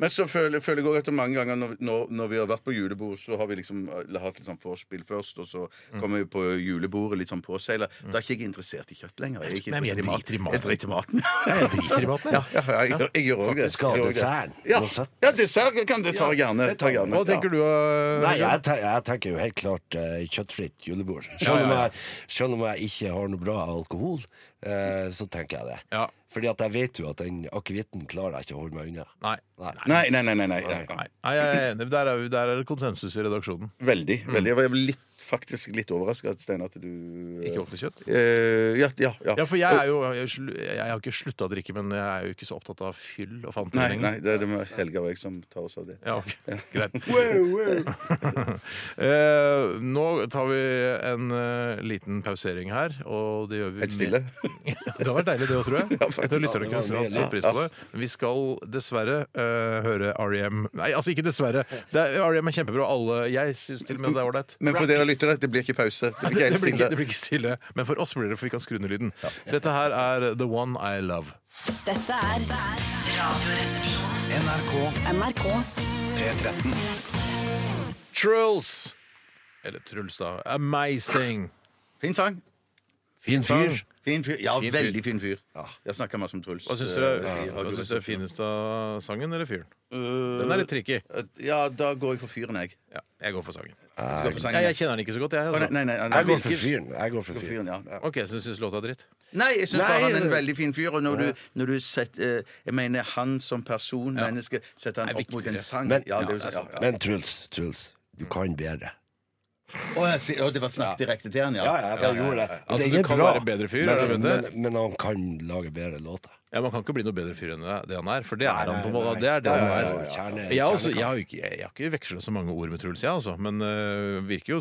F: Men så føler, føler jeg også at mange ganger når, når, når vi har vært på julebord, så har vi liksom eh, hatt litt sånn vorspiel først, og så kommer vi på julebordet litt sånn påseila. Da er ikke jeg interessert i kjøtt lenger. Jeg er ikke
E: Nei, men jeg
F: interessert
E: driter i maten.
F: Jeg
E: Jeg driter
F: driter i maten.
E: i maten, jeg.
F: Ja, jeg, gjør- jeg gjør òg det.
G: Faktisk ha
F: Jeg gjør også det.
G: desserten.
F: Ja,
G: Noe søtt.
F: ja dessert kan det ta gjerne.
G: det tar
F: Ta
G: vi.
F: gjerne.
E: Hva tenker du? eh,
G: Nei,
E: Jørgen?
G: jeg, te jeg tenker jo helt klart eh, kjøttfritt julebord. Selv om, jeg, selv om jeg ikke har noe bra alkohol, eh, så tenker jeg det.
E: Ja.
G: Fordi at jeg vet jo at den akevitten klarer jeg ikke å holde meg unna.
E: Nei.
G: Nei.
F: Nei, nei, nei. nei, nei, ja, ja.
E: Nei, Nei, jeg er enig. Der er, vi- der er det konsensus i redaksjonen.
F: Veldig. veldig. Jeg var litt, faktisk litt overraska, Steinar, at du eh,
E: Ikke offentlig kjøtt.
F: eh, ja, ja, ja.
E: Ja, for jeg er jo Jeg, slu- jeg har ikke slutta å drikke, men jeg er jo ikke så opptatt av fyll og fanteri
F: Nei,
E: lenger.
F: nei, det er det med Helga og jeg som tar oss av det.
E: Ja, ok, greit. Eh, nå tar vi en eh, liten pausering her, og det gjør vi
F: Helt stille.
E: Ja, det hadde vært deilig, det òg, tror jeg.
F: faktisk.
E: jeg tror lytterne kunne satt pris på det. Vi skal dessverre eh, høre REM Nei, altså ikke dessverre. Det er, REM er kjempebra. Alle Jeg syns til og med det er ålreit.
F: Men for dere lyttere, det blir ikke pause. Det blir ikke
E: Det blir
F: helt
E: ikke,
F: stille.
E: det blir ikke stille, men for oss blir det, for vi kan skru ned lyden. Dette her er The One I Love.
H: Dette er Radioresepsjonen.
D: NRK
H: NRK.
D: P13.
E: Trulls! Eller Truls, da. Amazing.
F: Fin sang.
G: Fin fyr.
F: Fin fyr. Ja,
E: Fin fyr.
F: veldig fin fyr. Jeg snakka masse om Truls.
E: Hva syns du,
F: eh, i
E: hva
F: radio-
E: syns du er finest av sangen eller fyren? Den er litt tricky.
F: Eh, Ja, da går jeg for fyren, jeg.
E: Ja, jeg går for sangen.
F: Du går for sangen,
E: Jeg,
F: jeg.
E: jeg kjenner den ikke så godt, jeg.
F: Å, nei,
E: Altså.
F: nei, nei, nei,
G: Jeg går
F: virker-
G: for fyren. Jeg går
F: for
G: for
F: fyren,
G: fyren.
F: ja.
E: OK, så du syns låta er dritt?
F: Nei, jeg syns bare
G: Nei,
F: han er en
G: det-
F: veldig fin fyr. Og når du, når du setter eh, Jeg mener han som person, menneske, setter
E: Er
F: han opp mot en
E: viktigere.
F: sang.
G: Men-
F: ja, det,
E: Ja,
F: er jo-
E: det er sant.
F: ja, ja.
G: Men Truls, Truls, du kan bedre.
F: Å, jeg sier- å, det var snakk direkte til han, ja.
G: Ja, ja, jeg gjorde det.
E: Altså,
G: det
E: du
G: er
E: kan
G: bra,
E: være bedre fyr, er det
G: men,
E: det?
G: men, men han kan lage bedre låter.
E: Ja, Man kan ikke bli noe bedre fyr enn det han er, for det er han på en måte. Det er det
G: Ja,
E: han
G: ja, ja,
E: er.
G: ja, kjerne-
E: Jeg, har også,
G: kjernekant.
E: jeg, har jo ikke, jeg har ikke veksla så mange ord med Truls, jeg, altså. Men øh, virker jo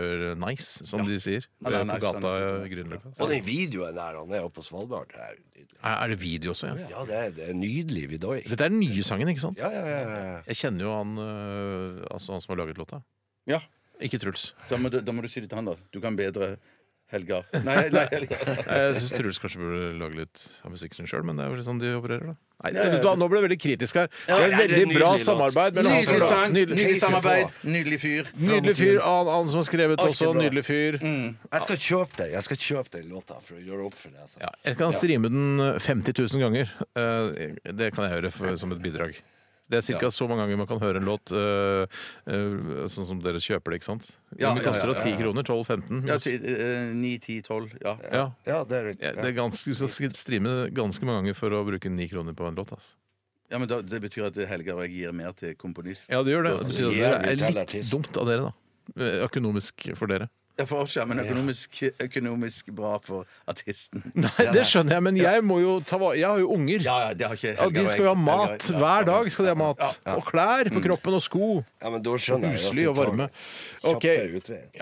E: super-nice, som de sier.
F: Han er
E: øh,
F: nice,
E: på gata
F: han er
E: i
F: super-nice.
E: Grünerløkka.
G: Og den videoen der han er oppe på Svalbard, det er jo nydelig.
E: Er, er det video også? ja?
G: Ja, det er, det er nydelig vidoi.
E: Dette er den nye sangen, ikke sant?
G: Ja, ja, ja, ja.
E: Jeg kjenner jo han, øh, altså han som har laget låta.
F: ja.
E: Ikke Truls.
F: Da, må du, da må du si det til han, da. Du kan bedre Helgar. Nei, nei Helgar.
E: Jeg syns Truls kanskje burde lage litt av musikken sin sjøl, men det er jo litt sånn de opererer, da. Nei, vet du hva, Nå ble jeg veldig kritisk her. Det er
G: ja,
E: et
G: det er
E: veldig bra
G: nydelig låt.
E: samarbeid mellom han som
F: Nydelig sang,
E: Nydelig-
F: nydelig samarbeid, nydelig fyr.
E: Nydelig fyr. Han, han som har skrevet også.
G: bra.
E: Nydelig fyr.
F: Mm.
G: Jeg skal kjøpe det. Jeg skal kjøpe den låta for å gjøre opp for det. Altså.
E: Ja, jeg kan streame den 50 000 ganger. Eh, Det kan jeg gjøre for, som et bidrag. Det er ca. så mange ganger man kan høre en låt eh, eh, sånn som dere kjøper det, ikke sant?
F: Ja,
E: Hvor mye
F: ja,
E: koster det?
F: ja,
E: 10 kroner? 12-15?
F: Ja, ti- eh, Ni, ti, tolv. Ja.
E: Ja.
G: Ja, det er riktig.
E: Ja, det er ganske, Du skal streame det ganske mange ganger for å bruke 9 kroner på en låt. altså. ass.
F: ja, men da, Det betyr at Helgar og jeg gir mer til komponist.
E: Ja, det gjør det. Det betyr at
G: Jævlig
E: det er litt
G: tellartist.
E: dumt av dere, da. Eh, Økonomisk for dere.
F: Ja, for oss, ja, men økonomisk, økonomisk bra for artisten.
E: Nei, det skjønner jeg, men jeg må jo ta va- Jeg har jo unger.
F: Ja, ja, det har ikke
E: Ja, de skal jo ha mat. Hver dag skal de ha mat.
F: Ja. Mm.
E: Og klær på kroppen og sko.
G: Ja, men da skjønner jeg
E: Husly og varme.
G: Ok.
E: Ok.
G: utveien.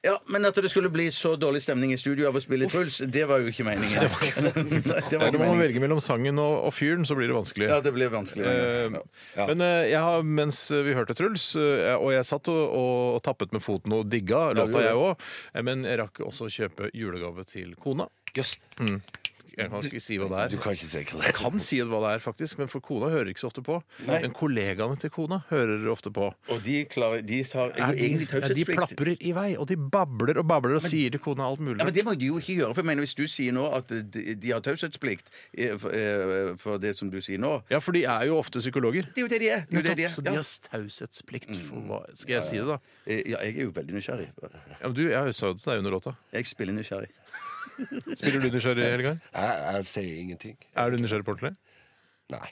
F: Ja, Men at det skulle bli så dårlig stemning i studio av å spille Truls, det var jo ikke meningen. Nei, det var
E: Når
F: ikke
E: man
F: meningen.
E: velger mellom sangen og, og fyren, så blir det vanskelig.
F: Ja, det ble vanskelig.
E: Eh,
F: Ja.
E: Men eh, jeg har, mens vi hørte Truls, eh, og jeg satt og, og tappet med foten og digga eh, låta, jeg òg, men jeg rakk også å kjøpe julegave til kona.
G: Jøss.
E: Mm. Jeg kan ikke si hva det er.
G: Du kan ikke si hva det
E: Jeg
G: er.
E: kan si hva det er, faktisk, men for kona hører ikke så ofte på.
G: Nei.
E: Men kollegaene til kona hører ofte på.
F: Og de, klarer, de har
E: Er
F: jo
E: de,
F: egentlig
E: ja, de
F: taushetsplikt.
E: plaprer i vei, og de babler og babler og sier til kona alt mulig.
F: Ja, men Det må de jo ikke gjøre. for jeg mener Hvis du sier nå at de, de har taushetsplikt eh, for, eh, for det som du sier nå
E: Ja, for de er jo ofte psykologer.
F: Det er jo det de er. Det er jo det de
E: Nettopp, så de
F: er. Ja.
E: har taushetsplikt. for hva- Skal jeg si det, da?
F: Eh, ja, jeg er jo veldig nysgjerrig.
E: Ja, men du, Jeg sa jo det til deg under låta.
F: Jeg spiller nysgjerrig.
E: Spiller du nysgjerrig, Helgar?
G: Jeg, jeg sier ingenting.
E: Er du nysgjerrig på ordentlig?
G: Nei.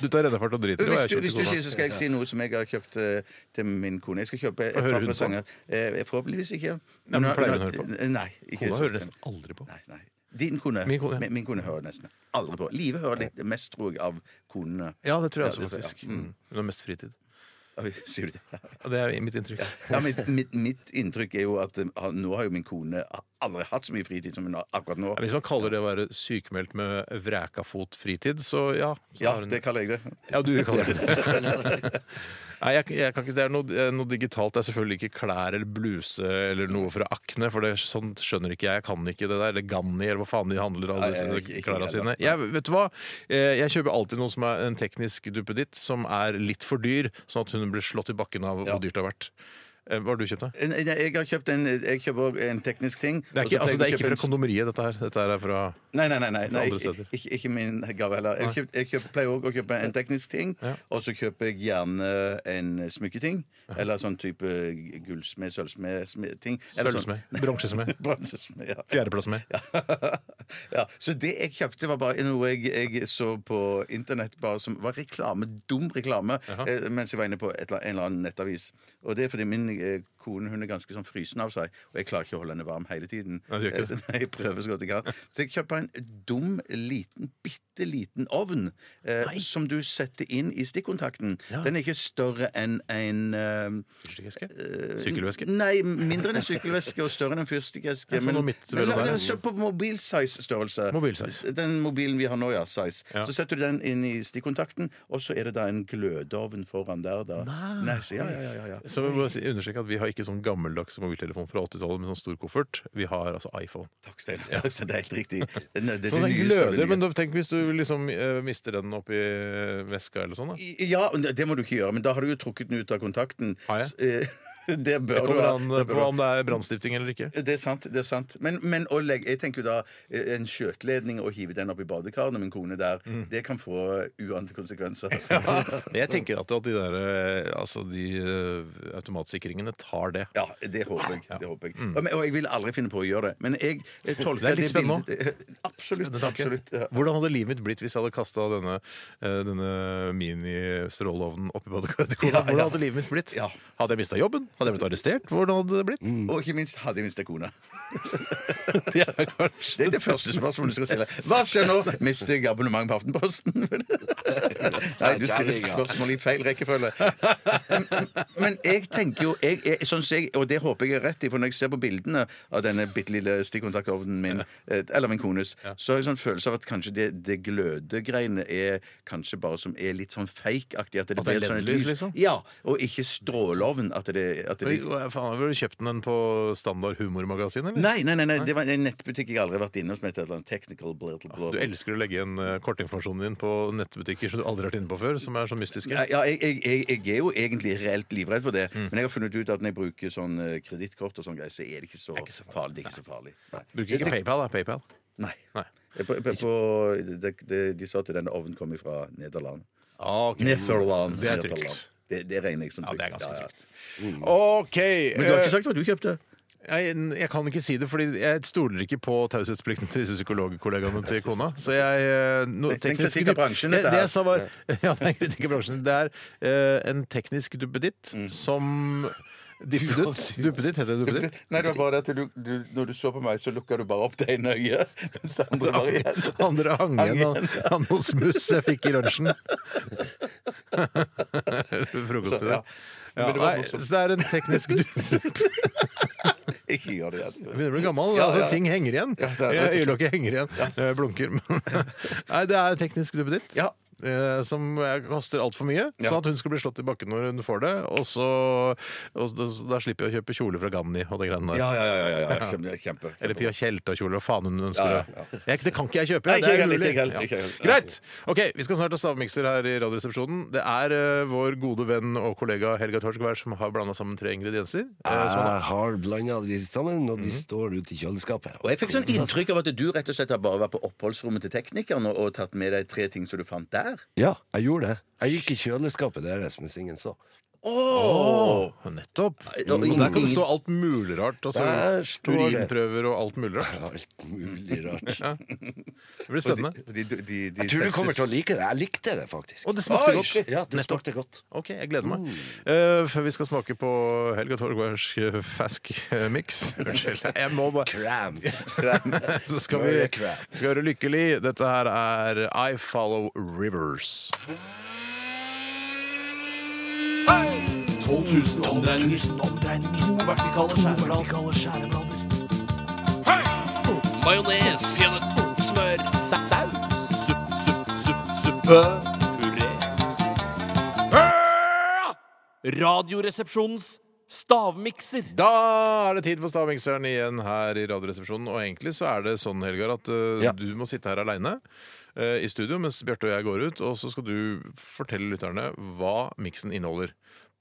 E: Du tar reddafart og driter i hva
F: Hvis
E: jeg
F: du,
E: kjøper
F: hvis du
E: til
F: sier,
E: kona.
F: så skal jeg si noe som jeg har kjøpt eh, til min kone. Jeg skal kjøpe et
E: hører
F: par
E: hun på?
F: presanger. Eh, forhåpentligvis ikke.
E: Nei, men pleier hun å
F: har- Eh,
E: høre
F: Nei. Ikke
E: Kona
F: så
E: hører
F: ofte.
E: nesten aldri på.
F: Nei, nei. Din kone,
E: Min kone, ja.
F: mi- min kone hører nesten aldri på. Live hører litt mest, tror jeg, av konene.
E: Ja, det tror jeg også,
F: Ja, det tror jeg.
E: faktisk. Mm. Hun har mest fritid.
F: Oi, Sier du det?
E: Ja, Det er mitt inntrykk.
F: Ja, mitt, mitt, mitt inntrykk er jo at eh, han- nå har jo min kone aldri hatt så mye fritid som hun har akkurat nå.
E: Ja, Hvis man kaller det å være sykemeldt med vrækafot fritid, så ja. så
F: Ja,
E: har hun-
F: det kaller jeg det.
E: Ja, du kaller det det. Nei, jeg, jeg kan ikke, det er noe, eh, noe digitalt. Det er selvfølgelig ikke klær eller bluse eller noe fra Akne, for det sånt skjønner ikke jeg. Jeg kan ikke det der. Eller Ganni, eller hva faen de handler alle
F: Nei, jeg-
E: disse
F: ikke- ikke
E: klærne
F: heller.
E: sine. Jeg, vet du hva? Eh, Jeg kjøper alltid noe som er en teknisk duppeditt som er litt for dyr, sånn at hun blir slått i bakken av hvor dyrt det har vært. Eh, Hva har du kjøpt, da?
F: En- en- Jeg har kjøpt en, jeg kjøper en teknisk ting.
E: Det er
F: og så
E: ikke, altså, det
F: pleier jeg
E: er
F: å kjøpe
E: ikke fra
F: en-
E: kondomeriet, dette her. Dette her er fra
F: Nei, nei, nei, nei, nei
E: andre steder.
F: ikke, ikke, ikke min gave heller. Jeg, kjøpt, jeg kjøpt, pleier òg å kjøpe en teknisk ting,
E: Ja.
F: og så kjøper jeg gjerne en smykketing. Eller sånn type gullsmed, sølvsmed, smed- ting. Eller sånn-
E: sølvsmed. Bronsesmed.
F: Bronsesmed, ja.
E: Fjerdeplassmed.
F: ja. Så det jeg kjøpte, var bare noe jeg, jeg så på internett bare som var reklame, dum reklame, eh, mens jeg var inne på et, eller- en eller annen nettavis. Og det er fordi min eh, kone hun er ganske sånn frysen av seg, og jeg klarer ikke å holde henne varm hele tiden.
E: Nei, du gjør ikke
F: Eh, så- Nei, jeg prøver så godt jeg kan. Så jeg kjøper en dum, liten, bitte liten ovn eh, som du setter inn i stikkontakten. Den er ikke større enn en eh,
E: Fyrstikkeske?
F: Eh,
E: Sykkelveske?
F: Nei, mindre enn en sykkelveske og større enn en fyrstikkeske.
E: Ja, sånn noe midt mellom
F: la-
E: der.
F: så på mobilsize-størrelse.
E: Mobilsize.
F: Den mobilen vi har nå, ja. Size.
E: Ja.
F: Så setter du den inn i stikkontakten, og så er det da en glødeovn foran der, da. Nei. så, ja, ja, ja, ja, ja.
E: Så vi må si- understreke at vi har ikke sånn gammeldags mobiltelefon fra 80-tallet med sånn stor koffert. Vi har altså iPhone.
F: Takk, Steinar. Takk, Steinar. Det er helt riktig. Det, det, det,
E: Så den
F: nyeste av det
E: gløder,
F: nye.
E: men da, tenk hvis du liksom eh, mister den oppi veska eller sånn, da.
F: I- Ja, det må du ikke gjøre, men da har du jo trukket den ut av kontakten.
E: Har jeg?
F: S- eh, Det bør
E: Det
F: du
E: kommer
F: ha.
E: an eh,
F: Det bør
E: på
F: du ha.
E: om det er brannstifting eller ikke.
F: Det er sant. det er sant Men, men å legge, jeg tenker jo da eh, en skjøteledning og hive den opp i badekaret når min kone er der,
E: Mm.
F: det kan få uante konsekvenser.
E: Men jeg tenker at, at de der eh, altså de eh, automatsikringene tar det.
F: Ja, det håper jeg. Det håper jeg. Og, men- og jeg vil aldri finne på å gjøre det. Men jeg, jeg
E: Mm.
F: tolker
E: Det er litt spennende
F: bildet- Eh, Absolutt. absolutt ja.
E: Hvordan hadde livet mitt blitt hvis jeg hadde kasta denne, eh, denne mini-stråleovnen oppi badekaret til kona?
F: Ja, ja.
E: Hvordan hadde livet mitt blitt?
F: Ja.
E: Hadde jeg mista jobben? Hadde jeg blitt arrestert? Hvordan hadde det blitt?
F: Og ikke minst hadde jeg mistet kona.
E: Det er kanskje
F: Det er det første spørsmålet du skal stille. Hva skjer nå? Mister jeg abonnement på Aftenposten? Nei, du stiller spørsmål i feil rekkefølge. Men jeg tenker jo jeg, jeg, sånn som jeg, Og det håper jeg er rett i, for når jeg ser på bildene av denne bitte lille stikkontaktovnen min, eh, eller min kones, så har jeg sånn følelse av at kanskje det, det glødegreiene er kanskje bare som er litt sånn fake-aktig. At det
E: At det er
F: blir sånn et
E: LED-lys,
F: lys.
E: liksom?
F: Ja. Og ikke stråleovn. At det, at det
E: Hva faen, Har du kjøpt den på standard humormagasin, eller?
F: Nei, nei, nei, nei, det var en nettbutikk jeg aldri har vært innom som heter et eller annet Technical Blurtle
E: Du elsker å legge igjen eh, kortinformasjonen din på nettbutikker som du aldri har vært inne på før, som er så mystiske.
F: Ja, ja, jeg, jeg, jeg, jeg er jo egentlig reelt livredd for det,
E: Mm.
F: men jeg har funnet ut at når jeg bruker sånn eh, kredittkort og sånn greier, så er det ikke så, farlig. Det er ikke så farlig. Nei.
E: Bruker ikke PayPal, da. PayPal.
F: Nei.
E: Nei.
F: Jeg På, på, på, de, de, de sa at denne ovnen kom fra Nederland.
E: Ah, ok.
F: Netherland.
E: Det er
F: Netherland.
E: trygt.
F: Det, det regner jeg som
E: Ja,
F: trygt.
E: det er ganske
F: ja.
E: trygt. OK.
F: Men du har
E: eh,
F: ikke sagt hva du kjøpte?
E: Jeg, jeg kan ikke si det, fordi jeg stoler ikke på taushetsplikten til disse psykologkollegaene til kona. Så jeg eh, no,
F: Det er en
E: tekniske
F: kritikk av
E: dupp-
F: bransjen,
E: Det,
F: dette
E: det
F: her.
E: jeg sa, var Ja, det er en kritikk av bransjen. Det er eh, en teknisk duppeditt
F: Mm.
E: som Duppeditt? Duppeditt heter det duppeditt?
F: Nei, det var bare det at du, du, når du så på meg, så lukka du bare opp det ene øyet. Mens det andre bare igjen.
E: Andre hang igjen av
F: Hang
E: av noe smuss jeg fikk i lunsjen. Frokost
F: Så, ja.
E: Ja,
F: Men det var
E: nei,
F: morsomt.
E: så det er en teknisk duppeditt.
F: Ikke gjør det igjen.
E: Begynner å bli gammel.
F: Ja,
E: altså,
F: ja.
E: ting henger Eh, igjen.
F: Ja, det er rett og slett.
E: Øyelokket henger igjen når jeg blunker. men- Nei, det er teknisk duppeditt.
F: Ja.
E: eh, som jeg koster altfor mye, sånn at hun skal bli slått i bakken når hun får det. Og så og da, da slipper jeg å kjøpe kjole fra Ganni og det greiene der.
F: Ja, ja, ja. ja, ja, ja. Kjempe, kjempe.
E: Eller Pia Tjelta-kjole, hva faen hun ønsker.
F: Ja, ja,
E: Jeg, det kan ikke jeg kjøpe. det
F: Nei,
E: er
F: ikke jeg heller,
E: umulig.
F: ikke jeg heller, ikke jeg heller.
E: Greit! Ok, Vi skal snart ha stavmikser her i Radioresepsjonen. Det er eh, vår gode venn og kollega Helga Torskvær som har blanda sammen tre ingredienser. eh, som han har-
G: Jeg har blanda de sammen, og de står ute i kjøleskapet.
F: Og jeg fikk sånn inntrykk av at du rett og slett har bare vært på oppholdsrommet til teknikeren og, og tatt med deg tre ting som du fant der.
G: Ja, jeg gjorde det. Jeg gikk i kjøleskapet deres mens ingen så.
F: Oh!
E: Nettopp.
F: Og
E: Og der kan
F: ingen-
E: det stå alt mulig rart. Altså,
G: Der står det.
E: urinprøver og alt mulig rart.
G: Alt mulig rart.
E: Det blir spennende.
F: De, de, de, de
G: Jeg tror du
F: testes.
G: kommer til å like det. Jeg likte det faktisk.
E: Og det smakte
F: Oi,
E: godt.
F: shit.
G: Ja, det
E: Nettopp.
G: smakte godt.
E: Ok, jeg gleder meg. Eh, før vi skal smake på Helga eh, Torgårds Fask-mix Unnskyld. Jeg må bare
G: Cram.
E: Så skal vi,
G: Mye crap.
E: skal være lykkelig. Dette her er I Follow Rivers.
I: 12 000 omdreininger. To vertikale skjæreblader. Majones. Smør. Saus. Supp, supp, supp, suppe. Puré. Radioresepsjonens stavmikser.
E: Da er det tid for Stavmikseren igjen her i Radioresepsjonen. Og egentlig så er det sånn, Helgar, at eh,
G: Ja.
E: du må sitte her aleine i studio mens Bjarte og jeg går ut, og så skal du fortelle lytterne hva miksen inneholder.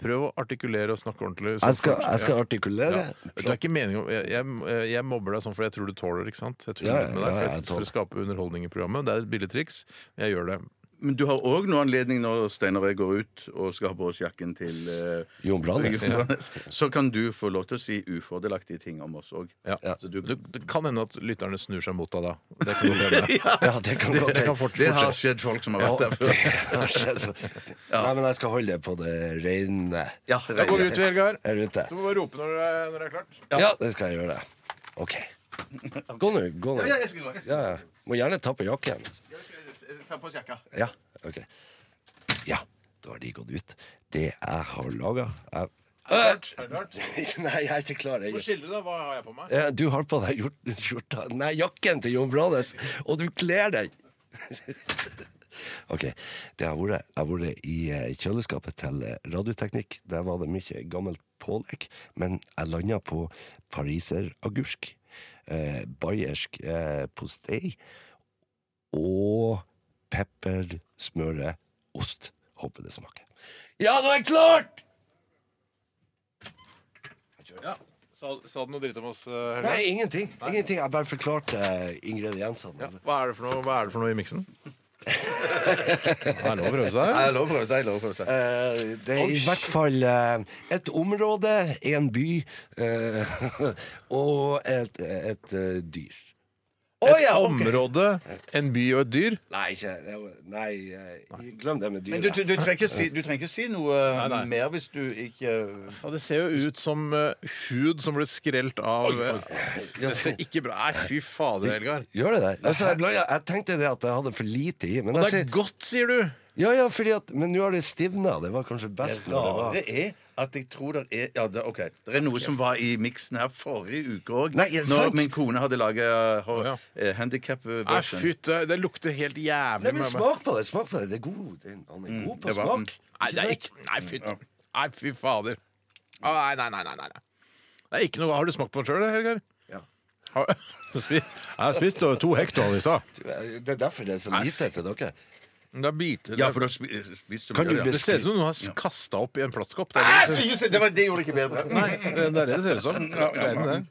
E: Prøv å artikulere og snakke ordentlig. så
G: Jeg skal,
E: fort-
G: jeg skal
E: ja.
G: artikulere.
E: Ja. Det er ikke meningen, jeg, jeg, jeg mobber deg sånn fordi jeg tror du tåler det. ikke sant? Jeg tuller
G: Ja, ja,
E: litt med deg
G: ja,
E: for,
G: jeg
E: jeg, for å skape underholdning i programmet. Det er et billedtriks. Jeg gjør det.
F: Men du har òg noe anledning når Steinar og jeg går ut og skal ha på oss jakken til eh,
G: Jon Brandes.
F: Jon Brandes, Så kan du få lov til å si ufordelaktige ting om oss òg.
E: Ja.
F: Så du-
E: Det, det kan hende at lytterne snur seg mot deg da. Det kan godt hende.
G: Ja, det kan godt
E: Det kan
G: hende.
E: fort, fort
F: Det
E: skje.
F: har skjedd folk som har vært der
G: Det
F: før.
G: har skjedd. Nei, men jeg skal holde det på det rene
F: Ja,
E: Da går vi ut, Helgar.
G: her ute.
E: Du må bare rope når det er, når det er klart.
G: Ja, det skal jeg gjøre. OK. Gå nå. Gå nå.
F: Ja, jeg skal gå. Jeg
G: Ja, ja. Må gjerne ta på jakken.
F: skal ta på oss jakka.
G: Ja, ok. Ja, da har de gått ut. Det jeg har laga jeg...
E: Er det klart?
G: Nei, jeg er ikke klar.
E: Hvor
G: Jeg...
E: skiller du, da? Hva har jeg på meg?
G: Eh, Du har på deg hjort- skjorta Nei, jakken til Jon Brandes, og du kler deg! OK. Det har vært, jeg har vært i eh, kjøleskapet til eh, Radioteknikk. Der var det mye gammelt pålegg, men jeg landa på pariseragurk, eh, bayersk eh, postei og pepper, smøre, ost. Håper det smaker. Ja, nå er det klart!
E: Sa, sa du noe dritt om oss, eh, Helga?
G: Nei, ingenting. ingenting. Jeg bare forklarte eh, ingrediensene.
E: Hva er det for noe, hva er det for noe i miksen? Det er lov å prøve seg.
F: Jeg lover å prøve seg. jeg lover å prøve seg.
G: Eh, det er i hvert fall eh, et område, en by eh, og et, et eh, dyr.
E: Et område, en by og et dyr.
G: Nei, ikke det er jo- Nei, eh, glem det med
F: Men du,
G: dyret.
F: du, du, trenger ikke si, du trenger ikke si noe eh,
E: Nei, nei.
F: mer hvis du ikke eh,
E: Ja, det ser jo ut som eh, hud som ble skrelt av eh, Det ser ikke bra Nei, fy fader, Helgar.
G: Gjør det det? Altså, jeg, ble- jeg tenkte det at jeg hadde for lite i. Men,
E: Det
G: jeg,
E: er
G: sier-
E: godt, sier du.
G: ja, ja, fordi at, men nå har det stivna. Det var kanskje best når det var
F: Rare er at jeg tror det er Ja, det, OK. Det er noe som var i miksen her forrige uke òg.
G: Nei, er det
F: Når
G: sant?
F: min kone hadde laga uh,
E: ja.
F: handikap
E: Nei,
F: eh, version.
E: fytte. Det lukter helt
G: Nei,
E: jævlig.
G: men
E: med meg.
G: smak på det! smak på det, det er god, det er- Han er god
F: Mm,
G: på
F: det var den.
G: smak.
E: Nei, det er ikke Nei, fy, nei, fy fader. Å, Nei, nei, nei, nei, nei. nei. Det er ikke noe Har du smakt på den sjøl, Helgar?
G: Ja.
E: Har, Du spi- jeg spiste to hektar i stad.
G: Det er derfor det er så lite til dere.
E: Da biter
F: Ja,
E: det.
F: for da spi- spiste
G: Kan
F: mye,
G: du
F: ja.
E: Det ser ut som noen har kasta opp i en plastkopp. Det er det det,
F: Æsj! Det, var- det gjorde det ikke bedre.
E: nei, det, er det det ser ut som. Verden,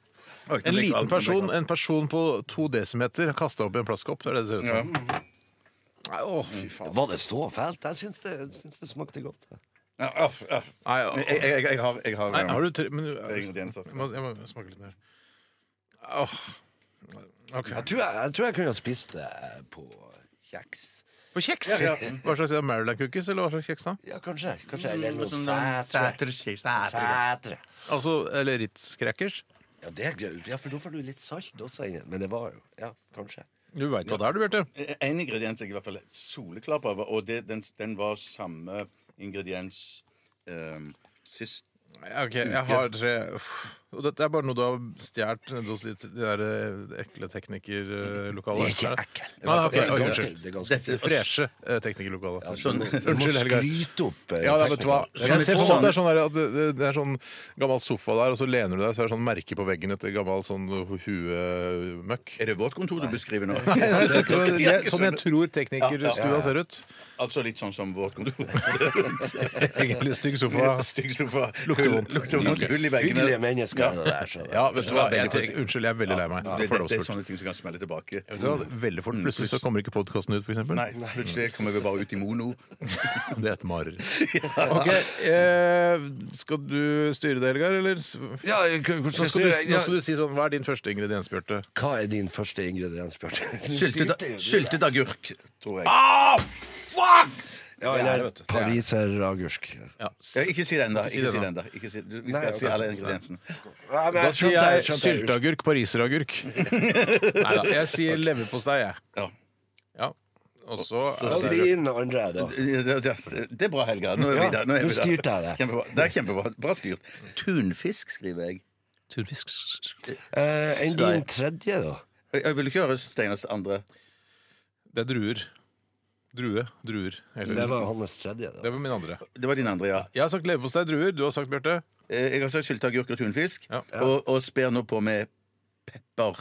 E: det. En liten person en person på to desimeter har kasta opp i en plastkopp. Det er det det ser ut som. Nei, å, fy faen.
G: Var det så fælt? Jeg syns det, jeg syns det smakte godt.
F: Ja, aff, aff.
E: Nei, å.
F: Jeg, jeg, jeg, jeg har, jeg har,
E: nei, har du tre men,
F: tre
E: jeg,
F: ingredienser.
E: må, jeg må smake litt mer. Åh. OK.
G: Jeg tror jeg, jeg, tror jeg kunne ha spist det på kjeks.
E: På kjeks? Hva slags er det, Maryland cookies, eller hva slags kjeks da?
G: Ja, kanskje. kanskje eller noe sætre. Sætre.
E: Altså, eller Ritz crackers?
G: Ja, det er gøy. Ja, for da får du litt salt også inni. Men det var jo Ja, kanskje.
E: Du veit hva det er, du, Bjarte.
F: En ingrediens jeg i hvert fall er soleklar på, og det, den, den var samme ingrediens ehm, sist.
E: Ok, jeg har tre Uff. Og dette er bare noe du har stjålet nede hos de de der eh, ekle teknikerlokalet.
G: Det er ikke ekkel.
E: Nei, ok,
G: Det er
E: oi,
G: ganske-
E: unnskyld.
G: det er ganske
E: Dette freshe eh, teknikerlokalet.
G: Sånn,
E: Unnskyld,
G: må
E: Helgar.
G: skryte opp eh,
E: Ja, nei, vet du hva?
G: teknikere.
E: Jeg kan se for meg at det er sånn, der, at det, det- det er sånn gammel sofa der, og så lener du deg, så er det sånn merke på veggen etter gammel sånn huemøkk.
F: Er det vårt kontor du beskriver nå?
E: Nei, nei, jeg tror ikke det- det er Sånn jeg tror teknikerstua ser ut.
F: Altså litt sånn som vårt kontor ser ut.
E: Egentlig stygg sofa.
F: Stygg sofa.
E: Lukter
F: Hull-
E: vondt.
F: Lukter vondt. Hull i
G: Hyggelige
F: veggene.
G: mennesker. det der, så det-
E: Ja, vet du hva?
F: Ja,
E: Jeg,
F: veldig
E: tenker- unnskyld, jeg er veldig lei meg.
F: Det, det, det er sånn-
E: Fordomsfullt.
F: sånne ting som kan smelle tilbake.
E: Vet du hva? Veldig fort. Plutselig så kommer ikke podkasten ut, for eksempel.
F: Nei, plutselig kommer vi bare ut i mono.
E: Det er et mareritt. Ok, eh, skal du styre det, Helgar, eller? s-
G: Ja, hvordan
E: Nå skal, du,
G: skal jeg-
E: nå skal
G: ja.
E: du si sånn Hva er din første ingrediens, Bjarte?
G: Hva er din første ingrediens, Bjarte?
F: Syltet syltet agurk, Ah! tror jeg.
G: Ja,
E: Det er det,
G: eller
E: vet du. Det er det.
G: pariseragurk.
F: Ja, ikke si det ennå.
E: Si det nå.
F: Ikke si du- vi
G: Nei,
F: skal
G: ok,
F: si alle
G: sånn,
F: ingrediensene.
E: Da sier jeg sylteagurk, pariseragurk. Nei da, jeg sier leverpostei, jeg.
F: Ja.
E: Ja. Og så
G: Og din andre, da.
F: Det det- det er bra, Helga. Nå er vi
G: Ja,
F: der. Nå er
G: nå
F: vi der.
G: styrte jeg det.
F: Kjempebra. Det er kjempebra. Bra styrt. Tunfisk, skriver jeg.
G: Eh, enn din tredje, da?
F: Jeg jeg vil ikke høre Steinars andre.
E: Det er druer. Drue. Druer. Eller,
G: Det var hans tredje, da.
E: det var min andre.
F: Det var din andre, ja.
E: Jeg har sagt leverpostei, druer. Du har sagt, Bjarte?
F: Eh, Jeg har sagt sylteagurk og tunfisk,
E: Ja.
F: og, og sper nå på med pepper.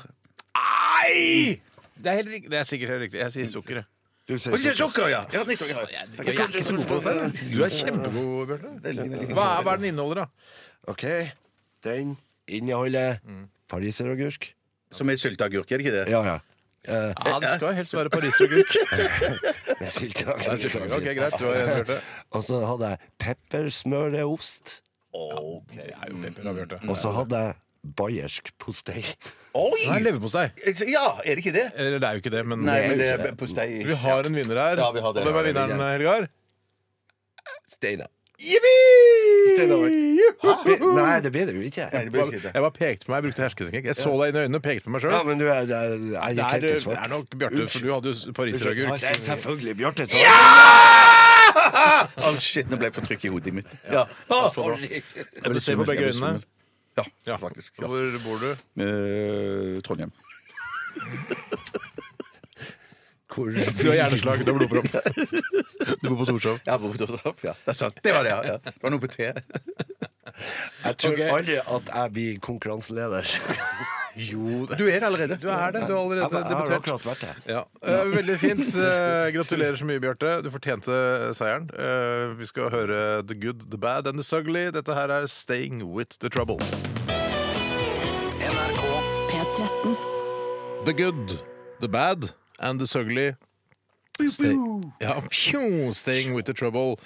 E: Nei! Mm. Det er, helt, rik- det er sikkert helt riktig. Jeg sier sukker. jeg.
G: Du sier
F: Og det er sukker,
G: sukker.
F: ja! ja, nettopp, ja.
E: Jeg er ikke så god på dette. Du er kjempegod, Bjarte. Hva er, hva er den inneholder, da?
G: OK. Den inneholder pariseragurk.
F: Som er sylteagurk, er det ikke det?
G: Ja, ja. Eh,
E: Ja, Det skal helst være pariseragurk.
G: med sylteagurk.
E: Ok, greit. Du har en, Bjarte.
G: Og så hadde jeg peppersmøreost.
E: Det er jo pepper, da, Bjarte.
G: Og så hadde jeg bayersk postei.
E: Det er
F: Oi!
E: leverpostei.
F: Ja, er det ikke det?
E: Eller det er jo ikke det, men
F: Nei, men det er postei.
E: Vi har en vinner her.
F: Ja, vi har det.
E: Og hvem er vinneren, Helgar?
G: Steina.
E: Jippi!
G: Nei, det blir det jo
F: Nei,
G: ikke.
F: det blir ikke det.
E: Jeg bare pekte på meg, jeg brukte hersketeknikk. Jeg så deg inn i øynene og pekte på meg sjøl.
G: Ja, men du er, jeg, jeg
E: det,
G: gikk
E: er,
G: helt i
E: det
G: svart.
E: er nok Bjarte, for du hadde jo pariseragurk.
G: Det er selvfølgelig Bjarte. sa
F: Å, shit, nå ble jeg for trykk i hodet mitt. Ja,
E: Du ser på begge øynene.
F: Ja,
E: Ja.
F: faktisk.
E: Og
F: Ja.
E: Hvor bor du?
F: Eh, Trondheim.
G: Hvor
E: Du har hjerneslag, du har blodpropp. Du bor på Torshov.
F: Jeg har bodd hos Raff, ja. Det er sant. Det var det, ja. ja. Det var noe på T.
G: Jeg tror aldri at jeg blir konkurranseleder.
E: Jo,
F: Du er det allerede.
E: Du er det. Du har
G: Jeg,
E: allerede
G: jeg har
E: debutert.
G: akkurat vært det.
E: Ja. eh, veldig fint. Eh, gratulerer så mye, Bjarte. Du fortjente seieren. Eh, vi skal høre The Good, The Bad and The Sugly. Dette her er Staying With The Trouble.
D: NRK
H: P13.
E: The Good, The Bad and The Sugly. Stay, ja, pju, staying with the trouble.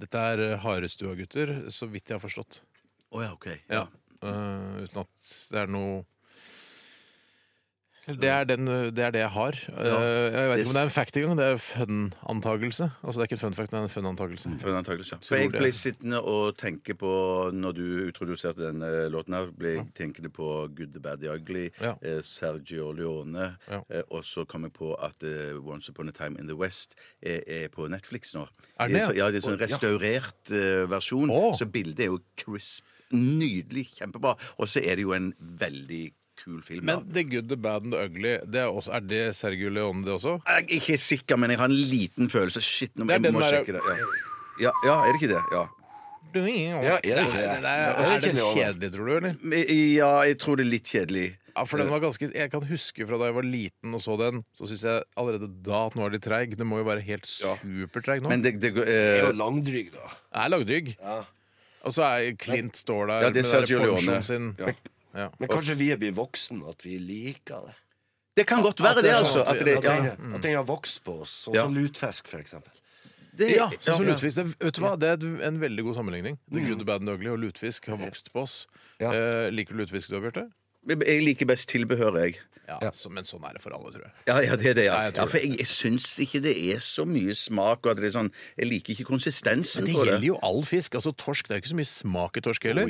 E: Dette er eh, Harestua, gutter, så vidt jeg har forstått.
F: Å ja, ok.
E: Ja. Eh, uten at det er noe det er, den, det er det jeg har. Eh, jeg vet ikke om det er en fact engang. Det er fun-antakelse. Altså, det er ikke en fun fact, men en fun-antakelse.
F: For en antakelse, ja. For jeg
E: det.
F: ble sittende og tenke på, når du introduserte denne låten her, ble jeg tenkende på Good, the Bad, the Ugly,
E: Ja.
F: eh, Sergio Leone,
E: Ja.
F: eh, og så kom jeg på at eh, Once Upon a Time in the West er, er på Netflix nå.
E: Er den det,
F: Så- Ja, det er en sånn restaurert eh, versjon,
E: Å.
F: så bildet er jo crisp, nydelig, kjempebra, og så er det jo en veldig kul film. da.
E: Men The Good, The Bad and The Ugly, det er, også, er det Sergio Leone, det også?
F: Jeg er ikke sikker, men jeg har en liten følelse. Shit, nå
E: Det er
F: jeg må
E: den der-
F: sjekke det. Ja. Ja, ja, er det ikke det? Ja.
E: Ja,
G: Ja, er det det?
E: Er den kjedelig, tror du, eller?
F: Men, Ja, jeg tror det er litt kjedelig.
E: Ja, for den var ganske Jeg kan huske fra da jeg var liten og så den, så syns jeg allerede da at den var litt treig. Den må jo være helt supertreig nå.
F: Men det, det,
G: Det
F: eh,
G: er jo langdryg, da.
E: Jeg er lagdrygg. Og så er Clint står der
F: Ja, det er
E: med den
F: Sergio
E: der
F: Leone.
E: ponchoen sin. Ja.
G: Men kanskje vi er blitt voksne, at vi liker det.
F: det kan godt være
E: det
F: det,
E: er
F: altså.
E: sånn at
F: At
E: vi-
F: det,
G: At
F: ja,
G: den, at den har vokst på oss, sånn
F: Ja.
G: som lutfisk, for eksempel.
F: det,
E: Ja, sånn som
F: ja.
E: lutfisk. Det, vet du hva? det er et- en veldig god sammenligning. The good, the bad and the ugly og lutfisk har vokst på oss.
G: Ja.
E: Eh, liker du lutfisk du har, Bjarte?
F: Jeg liker best tilbehør, jeg.
E: Ja, så, men sånn er det for alle, tror jeg.
F: Ja, ja, det er det, ja.
E: Ja, jeg tror
F: ja for jeg, jeg syns ikke det er så mye smak, og at det er sånn Jeg liker ikke konsistensen
E: Men det
F: på Sånn det.
E: gjelder jo all fisk. altså Torsk det er jo ikke så mye smak i torsk heller.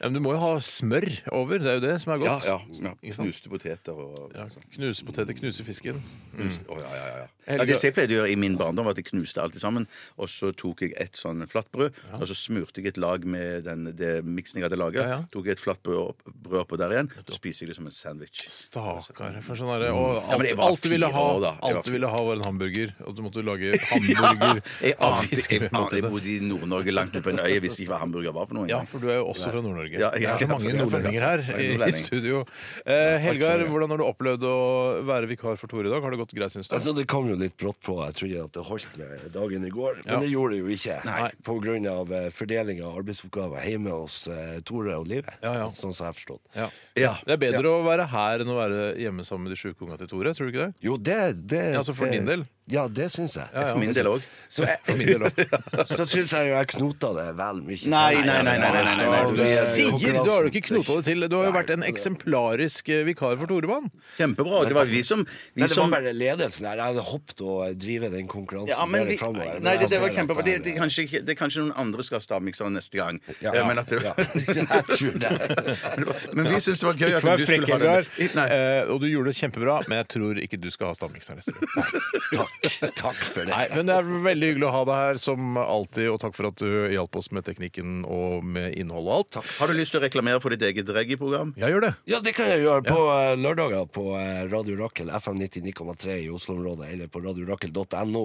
E: Ja, men du må jo ha smør over. Det er jo det som er
F: Ja,
E: godt.
F: ja, ja.
E: Ikke sant?
F: Knuste poteter og
E: Ja, knuse poteter, knuse fisken.
F: knust, å, ja, ja, ja, ja. ja,
E: Helge-
F: Det som jeg pleide å gjøre i min barndom, var at jeg knuste alt sammen. Og så tok jeg et sånn flatbrød, og så smurte jeg et lag med den, det miksen jeg hadde laget.
E: Ja, ja.
F: Tok jeg et flatbrød opp- brød oppå der igjen, så spiser jeg det som en sandwich.
E: Stakkar. For sånn er det. Og
F: Mm. Ja, men
E: alt,
F: jeg var
E: alt du ville
F: fire
E: ha,
F: år da. Jeg var
E: alt du
F: fire.
E: ville ha var en hamburger. Og du måtte lage hamburger
F: Jeg
E: av
F: ante
E: fisk.
F: jeg ante- jeg bodde i Nord-Norge langt oppe på en øy. Jeg visste ikke hva hamburger var for noe.
E: Ja,
F: engang.
E: for du er jo også fra Nord-Norge.
F: Ja,
E: det
F: jeg
E: er så
F: er
E: mange
F: fra-
E: nordlendinger
F: Jeg
E: her
F: er
E: i, i
F: nordlending.
E: studio. Eh, Helgar,
F: sånn, ja.
E: hvordan har du opplevd å være vikar for Tore i dag? Har det gått greit, syns du?
G: Altså, det kom jo litt brått på. Jeg trodde at det holdt med dagen i går, men
E: Ja.
G: det gjorde det jo ikke.
E: Nei.
G: På grunn av eh, fordeling av arbeidsoppgaver hjemme hos eh, Tore og Live.
E: Ja, ja.
G: Sånn som jeg har forstått.
E: Ja.
F: Ja.
E: Det er bedre å være her enn å være hjemme sammen med de sjuke unga til Tore, tror du ikke det?
G: Jo, det, det
E: Ja, altså for
G: det-
E: din del?
G: Ja, det syns jeg.
E: Ja, ja.
F: For min del òg.
G: Så,
E: For min del også.
G: så syns jeg jo jeg knota det vel mye.
F: Nei, nei, nei, nei, nei, nei, nei, nei,
E: Du sier,
G: Konkurransen.
E: du har jo ikke knota det til. Du har jo
G: Nei,
E: vært en
G: det-
E: eksemplarisk eh, vikar for Toremann.
F: Kjempebra. Det var vi som, vi
G: Nei, det var
F: som
G: bare ledelsen her. Jeg hadde hoppet å drive den konkurransen
F: ja, men
G: mer
F: vi,
G: fremover.
F: nei,
G: Men
F: det,
G: jeg
F: det var
G: ser at
F: kjempebra. Det,
G: her-
F: det, er kanskje, ikke- det er kanskje noen andre skal ha stavmikser neste gang.
G: Ja.
F: Eh, Men, at det,
G: Ja. Jeg tror det.
F: men vi syns det var gøy at
E: Ikke vær
F: du
E: frekk,
F: skulle ha
E: Helgar.
F: den. Nei.
E: Eh, Og du gjorde det kjempebra, men jeg tror ikke du skal ha stavmikseren neste gang.
G: Takk. Takk for det.
E: Nei, men det er veldig hyggelig å ha deg her som alltid, og takk for at du hjalp oss med teknikken og med innhold og alt.
F: Har du lyst til å reklamere for ditt eget reggae-program?
E: Jeg gjør det.
G: Ja, det kan jeg gjøre. På eh, lørdager på eh, Radio Rakel FM 99,3 i Oslo-området, eller på radiorakel.no.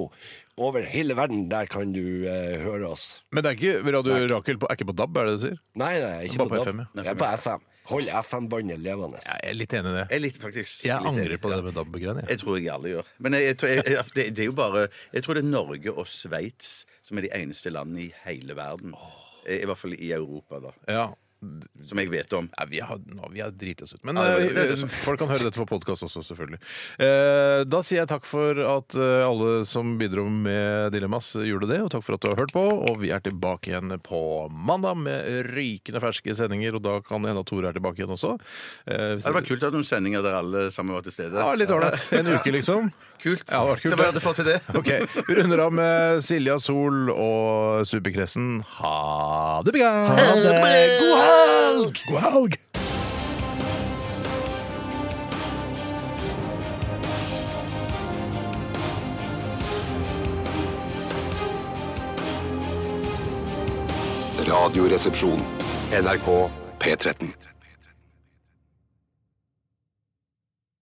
G: Over hele verden, der kan du eh, høre oss.
E: Men det er ikke Radio Rakel på, er ikke på DAB, er det det du sier?
G: Nei, nei, ikke
E: Bare på
G: på
E: FM,
G: DAB.
E: ja.
G: Jeg er på FM. Hold FM-båndet levende.
E: Jeg er litt enig i det.
F: Jeg, er litt, faktisk,
E: Jeg
F: litt
E: angrer
F: enig.
E: på det med DAB-greiene. jeg.
F: Jeg tror jeg alle gjør. Men jeg, jeg, tror- jeg, jeg, det, det er jo bare Jeg tror det er Norge og Sveits som er de eneste landene i hele verden. Eh, I hvert fall i Europa, da.
E: Ja.
F: Som jeg vet om.
E: Nei, vi har, nå, vi har driti oss ut. Men
F: Ja, det var-
E: eh,
F: det- det- det-
E: folk kan høre dette på podkast også, selvfølgelig. Eh, da sier jeg takk for at eh, alle som bidro med Dilemmas, eh, gjorde det. Og takk for at du har hørt på. Og vi er tilbake igjen på mandag med rykende ferske sendinger. Og da kan det hende at Tore er tilbake igjen også. Eh, hvis
F: Det hadde
E: ikke-
F: vært kult å ha noen sendinger der alle sammen var til stede.
E: Ja, litt ålreit. En uke, liksom.
F: Kult.
E: Ja, det var kult,
F: Så vi
E: det.
F: hadde fått til det.
E: Ok, Vi runder av med Silja Sol og Superkressen. Ha det bra! Ha det. God helg! God helg!
B: Radioresepsjon. NRK P13.